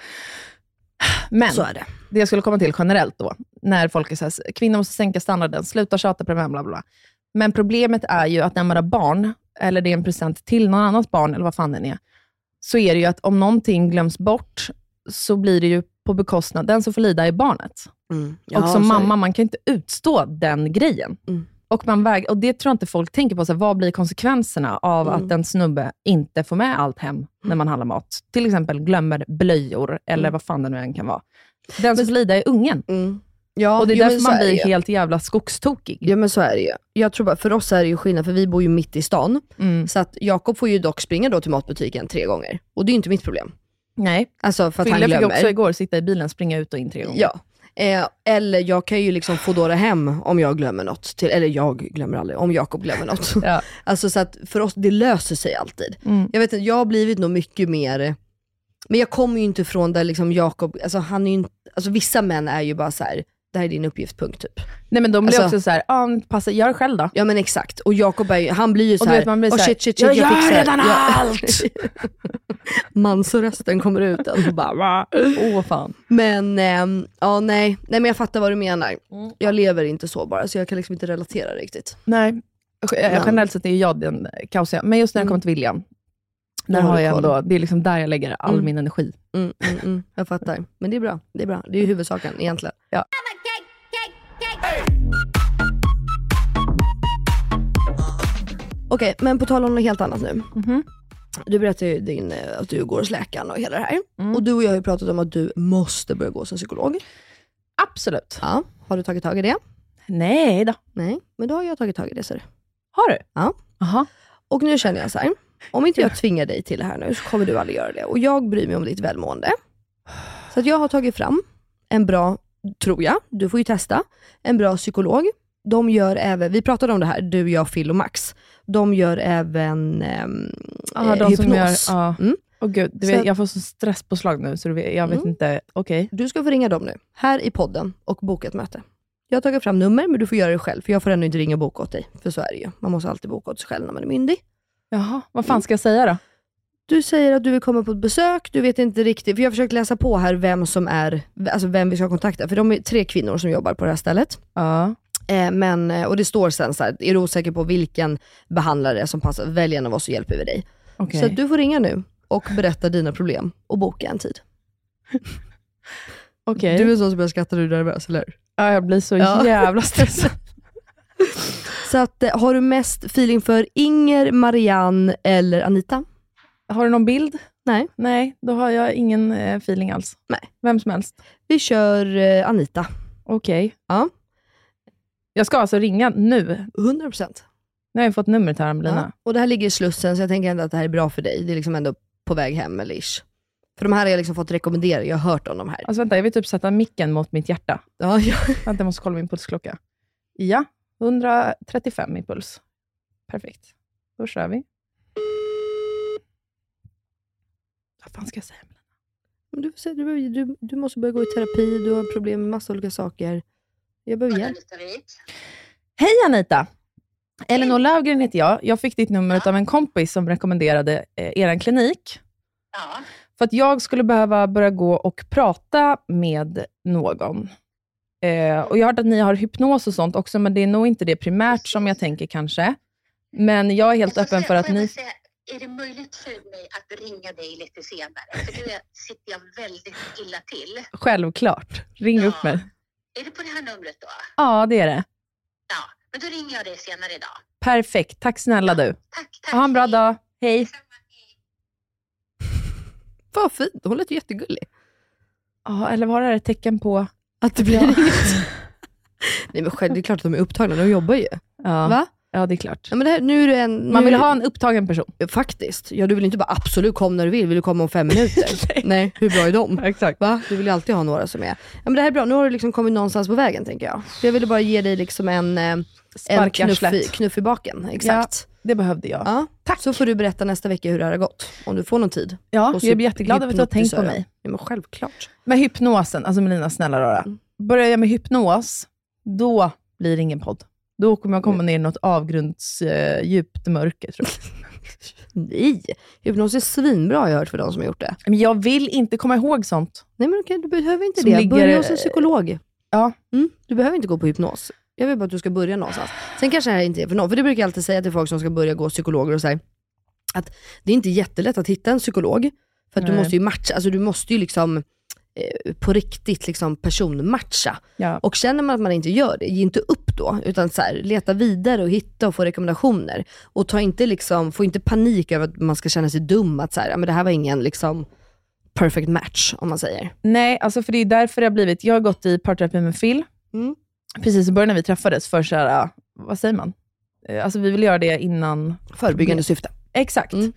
S3: men
S2: Så är det.
S3: det jag skulle komma till generellt då, när folk är så här, kvinnor måste sänka standarden, sluta tjata på det här, bla bla bla. Men problemet är ju att när man har barn, eller det är en present till någon annans barn, eller vad fan den är, så är det ju att om någonting glöms bort, så blir det ju på bekostnad, den som får lida är barnet. Mm. och som mamma, man kan inte utstå den grejen.
S2: Mm.
S3: Och, man väg, och det tror jag inte folk tänker på, så här, vad blir konsekvenserna av
S2: Mm.
S3: att en snubbe inte får med allt hem när man handlar mat? Till exempel glömmer blöjor, eller vad fan det nu än kan vara. Den som får lida är ungen.
S2: Mm. Mm. Ja,
S3: och det är
S2: jo, men
S3: därför
S2: så
S3: man
S2: är det ju.
S3: blir helt jävla skogstokig.
S2: Ja men så är det ju. Jag tror bara, för oss är det ju skillnad, för vi bor ju mitt i stan.
S3: Mm.
S2: Så att Jakob får ju dock springa då till matbutiken tre gånger. Och det är ju inte mitt problem.
S3: Nej.
S2: Alltså för att
S3: Fille
S2: han
S3: fick också
S2: glömmer.
S3: igår sitta i bilen springa ut och in tre gånger.
S2: Ja. Eh, eller jag kan ju liksom Foodora hem om jag glömmer något. Till, eller jag glömmer aldrig, om Jakob glömmer något.
S3: Ja.
S2: Alltså så att för oss, det löser sig alltid.
S3: Mm.
S2: Jag vet inte, jag har blivit nog mycket mer, men jag kommer ju inte från där liksom Jakob, alltså han är ju inte, alltså vissa män är ju bara så här. det här är din uppgift, punkt typ.
S3: Nej men de blir
S2: Alltså-
S3: också såhär, ah, men passa, gör det själv då.
S2: Ja men exakt, och Jakob är ju, han blir ju
S3: Och du
S2: såhär,
S3: vet, man blir
S2: "Åh,
S3: så här,
S2: shit, shit, shit,
S3: "Jag gör
S2: fixar det."
S3: redan
S2: Ja.
S3: allt!
S2: Mansorösten kommer ut ändå bara. "Va?"
S3: Åh fan.
S2: Men ehm, ja nej. nej, men jag fattar vad du menar.
S3: Mm.
S2: Jag lever inte så bara, så jag kan liksom inte relatera riktigt.
S3: Nej.
S2: Men- Mm.
S3: Generellt sett är ju jag den kaosiga, men just när det kommer till William, där
S2: har
S3: har
S2: du
S3: jag
S2: koll.
S3: ändå, det är liksom där jag lägger all
S2: Mm.
S3: min energi.
S2: Mm, mm, mm, jag fattar, men det är bra. Det är bra. Det är ju huvudsaken egentligen. Okej, men på tal om något helt annat nu. Du berättade ju din, eh, att du går hos läkaren och hela det här. Och du och jag har ju pratat om att du måste börja gå som psykolog.
S3: Absolut.
S2: Ja. Har du tagit tag i det?
S3: Nej då.
S2: Nej, men då har jag tagit tag i det. Ser du.
S3: Har du?
S2: Ja.
S3: Aha.
S2: Och nu känner jag så här. om inte jag tvingar dig till det här nu så kommer du aldrig göra det. Och jag bryr mig om ditt välmående. Så att jag har tagit fram en bra, tror jag, du får ju testa, en bra psykolog. De gör även, vi pratade om det här, du, jag, Phil och Max. De gör även ehm,
S3: Aha,
S2: eh,
S3: de som gör,
S2: hypnos.
S3: ja.
S2: Mm.
S3: Åh gud, du
S2: Så
S3: vet,
S2: att-
S3: jag får så stresspåslag nu, så du vet, jag vet
S2: Mm.
S3: inte. Okej.
S2: Du ska få ringa dem nu, här i podden och boka ett möte. Jag har tagit fram nummer, men du får göra det själv, för jag får ändå inte ringa och boka åt dig. För så är det ju. Man måste alltid boka åt sig själv när man är myndig.
S3: Jaha, vad fan ska jag säga då?
S2: Du säger att du vill komma på ett besök, du vet inte riktigt, för jag har försökt läsa på här vem som är, alltså vem vi ska kontakta, för de är tre kvinnor som jobbar på det här stället.
S3: Ja.
S2: Eh, men, eh, och det står sen så här, är du osäker på vilken behandlare som passar, välj en av oss så hjälper vi dig.
S3: Okej.
S2: Så att du får ringa nu och berätta dina problem och boka en tid.
S3: Okej.
S2: Du är en sån som börjar skratta när du är nervös, eller hur?
S3: Ja, jag blir så
S2: Ja.
S3: jävla stressad.
S2: Så att, eh, har du mest feeling för Inger, Marianne eller Anita?
S3: har du någon bild?
S2: Nej,
S3: Nej, då har jag ingen eh, feeling alls.
S2: Nej.
S3: Vem som helst.
S2: vi kör eh, Anita.
S3: Okej.
S2: Ja.
S3: Jag ska alltså ringa nu. Nu
S2: 100%.
S3: har jag fått numret här,
S2: Ja.
S3: Amelina.
S2: Och det här ligger i Slussen, så jag tänker ändå att det här är bra för dig. Det är liksom ändå på väg hem eller ish. För de här har jag liksom fått rekommendera, jag har hört om de här.
S3: Alltså vänta, jag vill typ sätta micken mot mitt hjärta.
S2: Ja, ja.
S3: Vänta, jag måste kolla min pulsklocka. Ja, 135 i puls. Perfekt. Då kör vi. Vad fan ska jag säga?
S2: Men du, får se, du, behöver- du, du måste börja gå i terapi, du har problem med massa olika saker. Jag behöver hjälp.
S3: Hej Anita! Elinor Löfgren heter jag. Jag fick ditt nummer av en kompis som rekommenderade eh, er klinik. För att jag skulle behöva börja gå och prata med någon. Eh, och Jag har hört att ni har hypnos och sånt också, men det är nog inte det primärt som jag tänker kanske. Men jag är helt öppen för att ni...
S9: Är det möjligt för mig att ringa dig lite senare? För nu är- sitter jag väldigt illa till.
S3: Självklart. Ring upp mig.
S9: Är det på det här numret då?
S3: Ja, det är det.
S9: Ja, men då ringer jag dig senare idag.
S3: Perfekt. Tack snälla du.
S9: Tack, tack.
S3: Ha en bra dag. Hej.
S2: Vad fint, hon lät ju jättegullig.
S3: Ja, eller var det här ett tecken på...
S2: Att det blir inget. Nej men själv, det är klart att de är upptagna, de jobbar ju.
S3: Ja,
S2: Va?
S3: ja det är klart.
S2: Ja, men det här, nu är du en,
S3: Man
S2: nu
S3: vill
S2: är du-
S3: ha en upptagen person.
S2: Faktiskt. Ja, du vill inte bara absolut kom när du vill, vill du komma om fem minuter? Nej. hur bra är de?
S3: Exakt.
S2: Va? Du vill ju alltid ha några som är... Ja, men det här är bra, nu har du liksom kommit någonstans på vägen tänker jag. Så jag ville bara ge dig liksom en, eh, en
S3: Sparka
S2: knuff, i,
S3: slätt.
S2: knuff i baken. Exakt.
S3: Det behövde jag.
S2: Ja. Så får du berätta nästa vecka hur det här har gått, om du får någon tid.
S3: Ja,
S2: Och så
S3: jag blir jätteglad över att du har tänkt på
S2: hypnotisöra.
S3: mig.
S2: Ja, men självklart.
S3: Med hypnosen, alltså Melina, snälla rara. Börjar jag med hypnos, då blir det ingen podd. Då kommer jag komma ner i något avgrundsdjupt mörker, tror jag.
S2: Nej, hypnos är svinbra har jag hört för de som har gjort det.
S3: Men jag vill inte komma ihåg sånt.
S2: Nej men okej, du behöver inte
S3: Som
S2: det.
S3: ligger- eh,
S2: Börja hos en psykolog.
S3: Ja.
S2: Mm, du behöver inte gå på hypnos. Jag vill bara att du ska börja någonstans. Sen kanske det här inte är för någon, för det brukar jag alltid säga till folk som ska börja gå psykologer och säga att det är inte jättelätt att hitta en psykolog. För att du
S3: Nej.
S2: måste ju matcha, alltså du måste ju liksom eh, på riktigt liksom personmatcha.
S3: Ja.
S2: Och känner man att man inte gör det, ge inte upp då. Utan så här, leta vidare och hitta och få rekommendationer. Och ta inte liksom, få inte panik över att man ska känna sig dum, att så här, "Ja, men det här var ingen liksom perfect match om man säger.
S3: Nej, alltså för det är därför jag har blivit... Jag har gått i parterapi med Phil.
S2: Mm.
S3: Precis i början när vi träffades för så här, vad säger man? Eh, Alltså vi vill göra det innan...
S2: Förebyggande syfte.
S3: Exakt.
S2: Mm.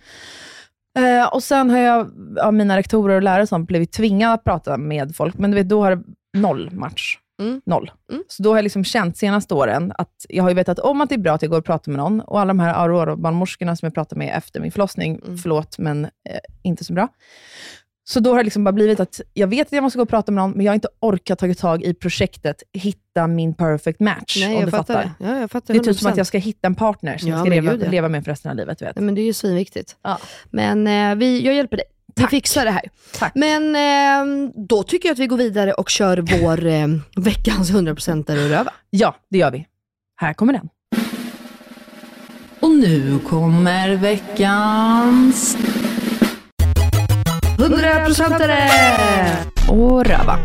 S3: Eh, och sen har jag, av mina rektorer och lärare och sånt, blivit tvingad att prata med folk, men du vet, då har det noll match.
S2: Mm.
S3: Noll.
S2: Mm.
S3: Så då har jag liksom känt senaste åren att jag har ju vetat om att det är bra att jag går och pratar med någon. Och alla de här Aurora-barnmorskorna som jag pratade med efter min förlossning,
S2: Mm.
S3: förlåt, men eh, inte så bra. Så då har det liksom bara blivit att jag vet att jag måste gå och prata med någon, men jag har inte orkat tagit tag i projektet hitta min perfect match.
S2: Nej,
S3: om
S2: jag
S3: du fattar.
S2: fattar. det. Ja, jag fattar
S3: Det är typ som
S2: 100%.
S3: att jag ska hitta en partner som
S2: Ja,
S3: jag ska
S2: men
S3: leva,
S2: gud, ja. Mm,
S3: leva med för resten av livet. Du vet.
S2: Nej, men det är ju svinviktigt.
S3: Ja.
S2: Men eh, vi, jag hjälper dig. Vi fixar det här.
S3: Tack.
S2: Men eh, då tycker jag att vi går vidare och kör vår eh, veckans 100% ur röva.
S3: Ja, det gör vi. Här kommer den.
S6: Och nu kommer veckans...
S2: 100%are!
S3: Och röva.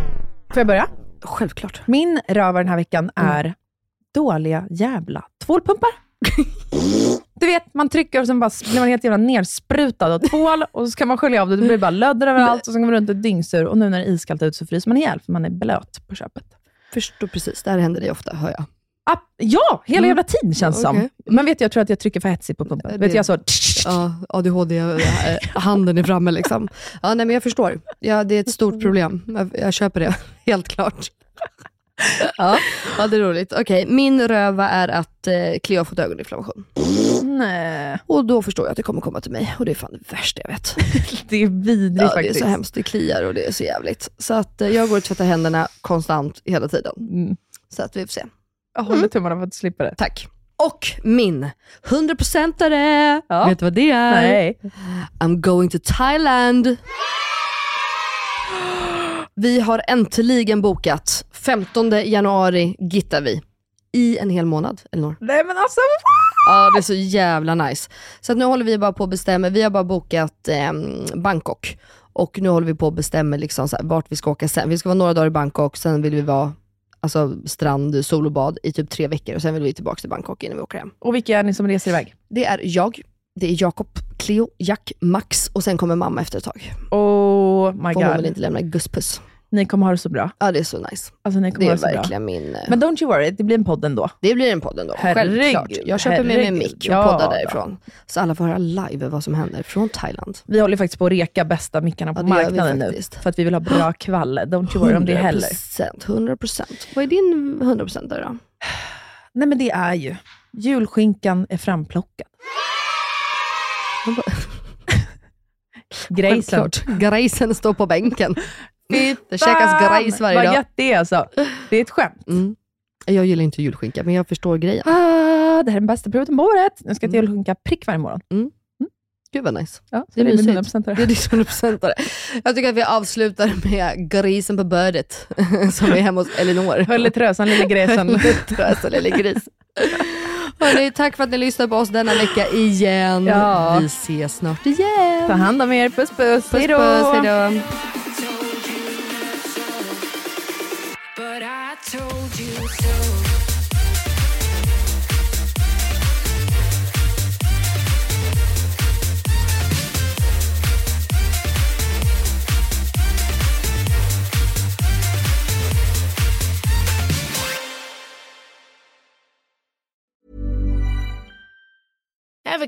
S3: Får jag börja?
S2: Självklart.
S3: Min röva den här veckan
S2: Mm.
S3: är dåliga jävla tvålpumpar. Du vet, man trycker och sen bara blir man helt jävla nersprutad av tvål och så kan man skölja av det. Det blir bara lödder överallt och sen går man runt och är dyngsur. Och nu när det är iskallt ut så fryser man ihjäl för man är blöt på köpet.
S2: Förstår precis, det här händer dig ofta hör jag.
S3: Ah, ja, hela jävla tiden känns det
S2: Mm. Okej.
S3: som. Men vet du, jag tror att jag trycker för hetsigt på pumpen.
S2: Det-
S3: Vet du, jag så...
S2: Ja, ADHD-handen eh, är framme liksom. Ja, nej, men jag förstår. Ja, det är ett stort problem. Jag, jag köper det, helt klart. Ja, ja det är roligt. Okej, min röva är att eh, Cleo har fått ögoninflammation.
S3: Nej,
S2: Och då förstår jag att det kommer komma till mig. Och det är fan det värsta jag vet.
S3: det är vidrigt
S2: Ja, det är
S3: faktiskt.
S2: så hemskt, det kliar och det är så jävligt. Så att eh, jag går och tvättar händerna konstant hela tiden.
S3: Mm.
S2: Så att vi får se.
S3: Jag håller tummarna för att slippa det.
S2: Tack. Och min 100%are,
S3: Ja.
S2: vet du vad det är?
S3: Nej.
S2: I'm going to Thailand. Vi har äntligen bokat. 15 januari gittar vi. I en hel månad, Elinor.
S3: Nej, men alltså...
S2: Ja, det är så jävla nice. Så att nu håller vi bara på att bestämma. Vi har bara bokat ehm, Bangkok. Och nu håller vi på att bestämma liksom så här, vart vi ska åka sen. Vi ska vara några dagar i Bangkok, sen vill vi vara alltså, strand, sol och bad i typ tre veckor. Och sen vill vi tillbaka till Bangkok innan vi åker hem.
S3: Och vilka är ni som reser iväg?
S2: Det är jag, det är Jakob, Cleo, Jack, Max och sen kommer mamma efter ett tag.
S3: Oh
S2: För
S3: my
S2: hon vill
S3: god.
S2: inte lämna gusspuss.
S3: Ni kommer ha det så bra.
S2: Ja, det är så nice.
S3: Alltså, ni kommer
S2: Det
S3: ha
S2: är
S3: det så bra.
S2: verkligen min... eh,
S3: Men don't you worry, det blir en podd ändå.
S2: det blir en podd ändå.
S3: Herregud,
S2: Självklart. Jag köper med mig en
S3: herregud.
S2: mick och
S3: Ja,
S2: poddar
S3: då.
S2: därifrån. Så alla får höra live vad som händer från Thailand.
S3: Vi håller ju faktiskt på att reka bästa mickarna på
S2: Ja, det gör vi
S3: marknaden nu.
S2: faktiskt.
S3: För att vi vill ha bra kvall. Don't you worry om det heller.
S2: 100%. 100%. Vad är din 100% där då?
S3: Nej, men det är ju. Julskinkan är framplockad. Grejsen.
S2: Självklart. Grejsen står på bänken. Det käkas grejs varje
S3: Vad
S2: dag.
S3: gött det är alltså. Det är ett skämt.
S2: Mm. Jag gillar inte julskinka, men jag förstår grejen.
S3: Ah, det här är den bästa perioden på året. Nu ska jag till
S2: Mm.
S3: julskinka prick varje morgon.
S2: Gud vad nice.
S3: Ja, så
S2: Det är
S3: det är mina
S2: mysigt.
S3: presenter.
S2: Det är ditt 100%are. Jag tycker att vi avslutar med grisen på bördet, som är hemma hos Elinor.
S3: Höll i trösan, lille grejsen.
S2: Trösa lille gris. Hörrni, tack för att ni lyssnade på oss denna vecka igen.
S3: Ja.
S2: Vi ses snart igen.
S3: Ta hand om er. Puss, puss.
S2: Puss, puss, hej då.
S10: Ever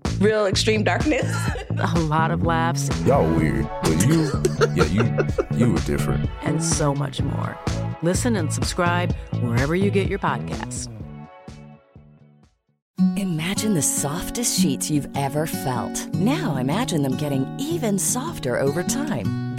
S11: real extreme darkness.
S12: a lot of laughs,
S13: Y'all weird, but you, yeah, you, you were different.
S12: and so much more. Listen and subscribe wherever you get your podcasts.
S10: Imagine the softest sheets you've ever felt. Now imagine them getting even softer over time.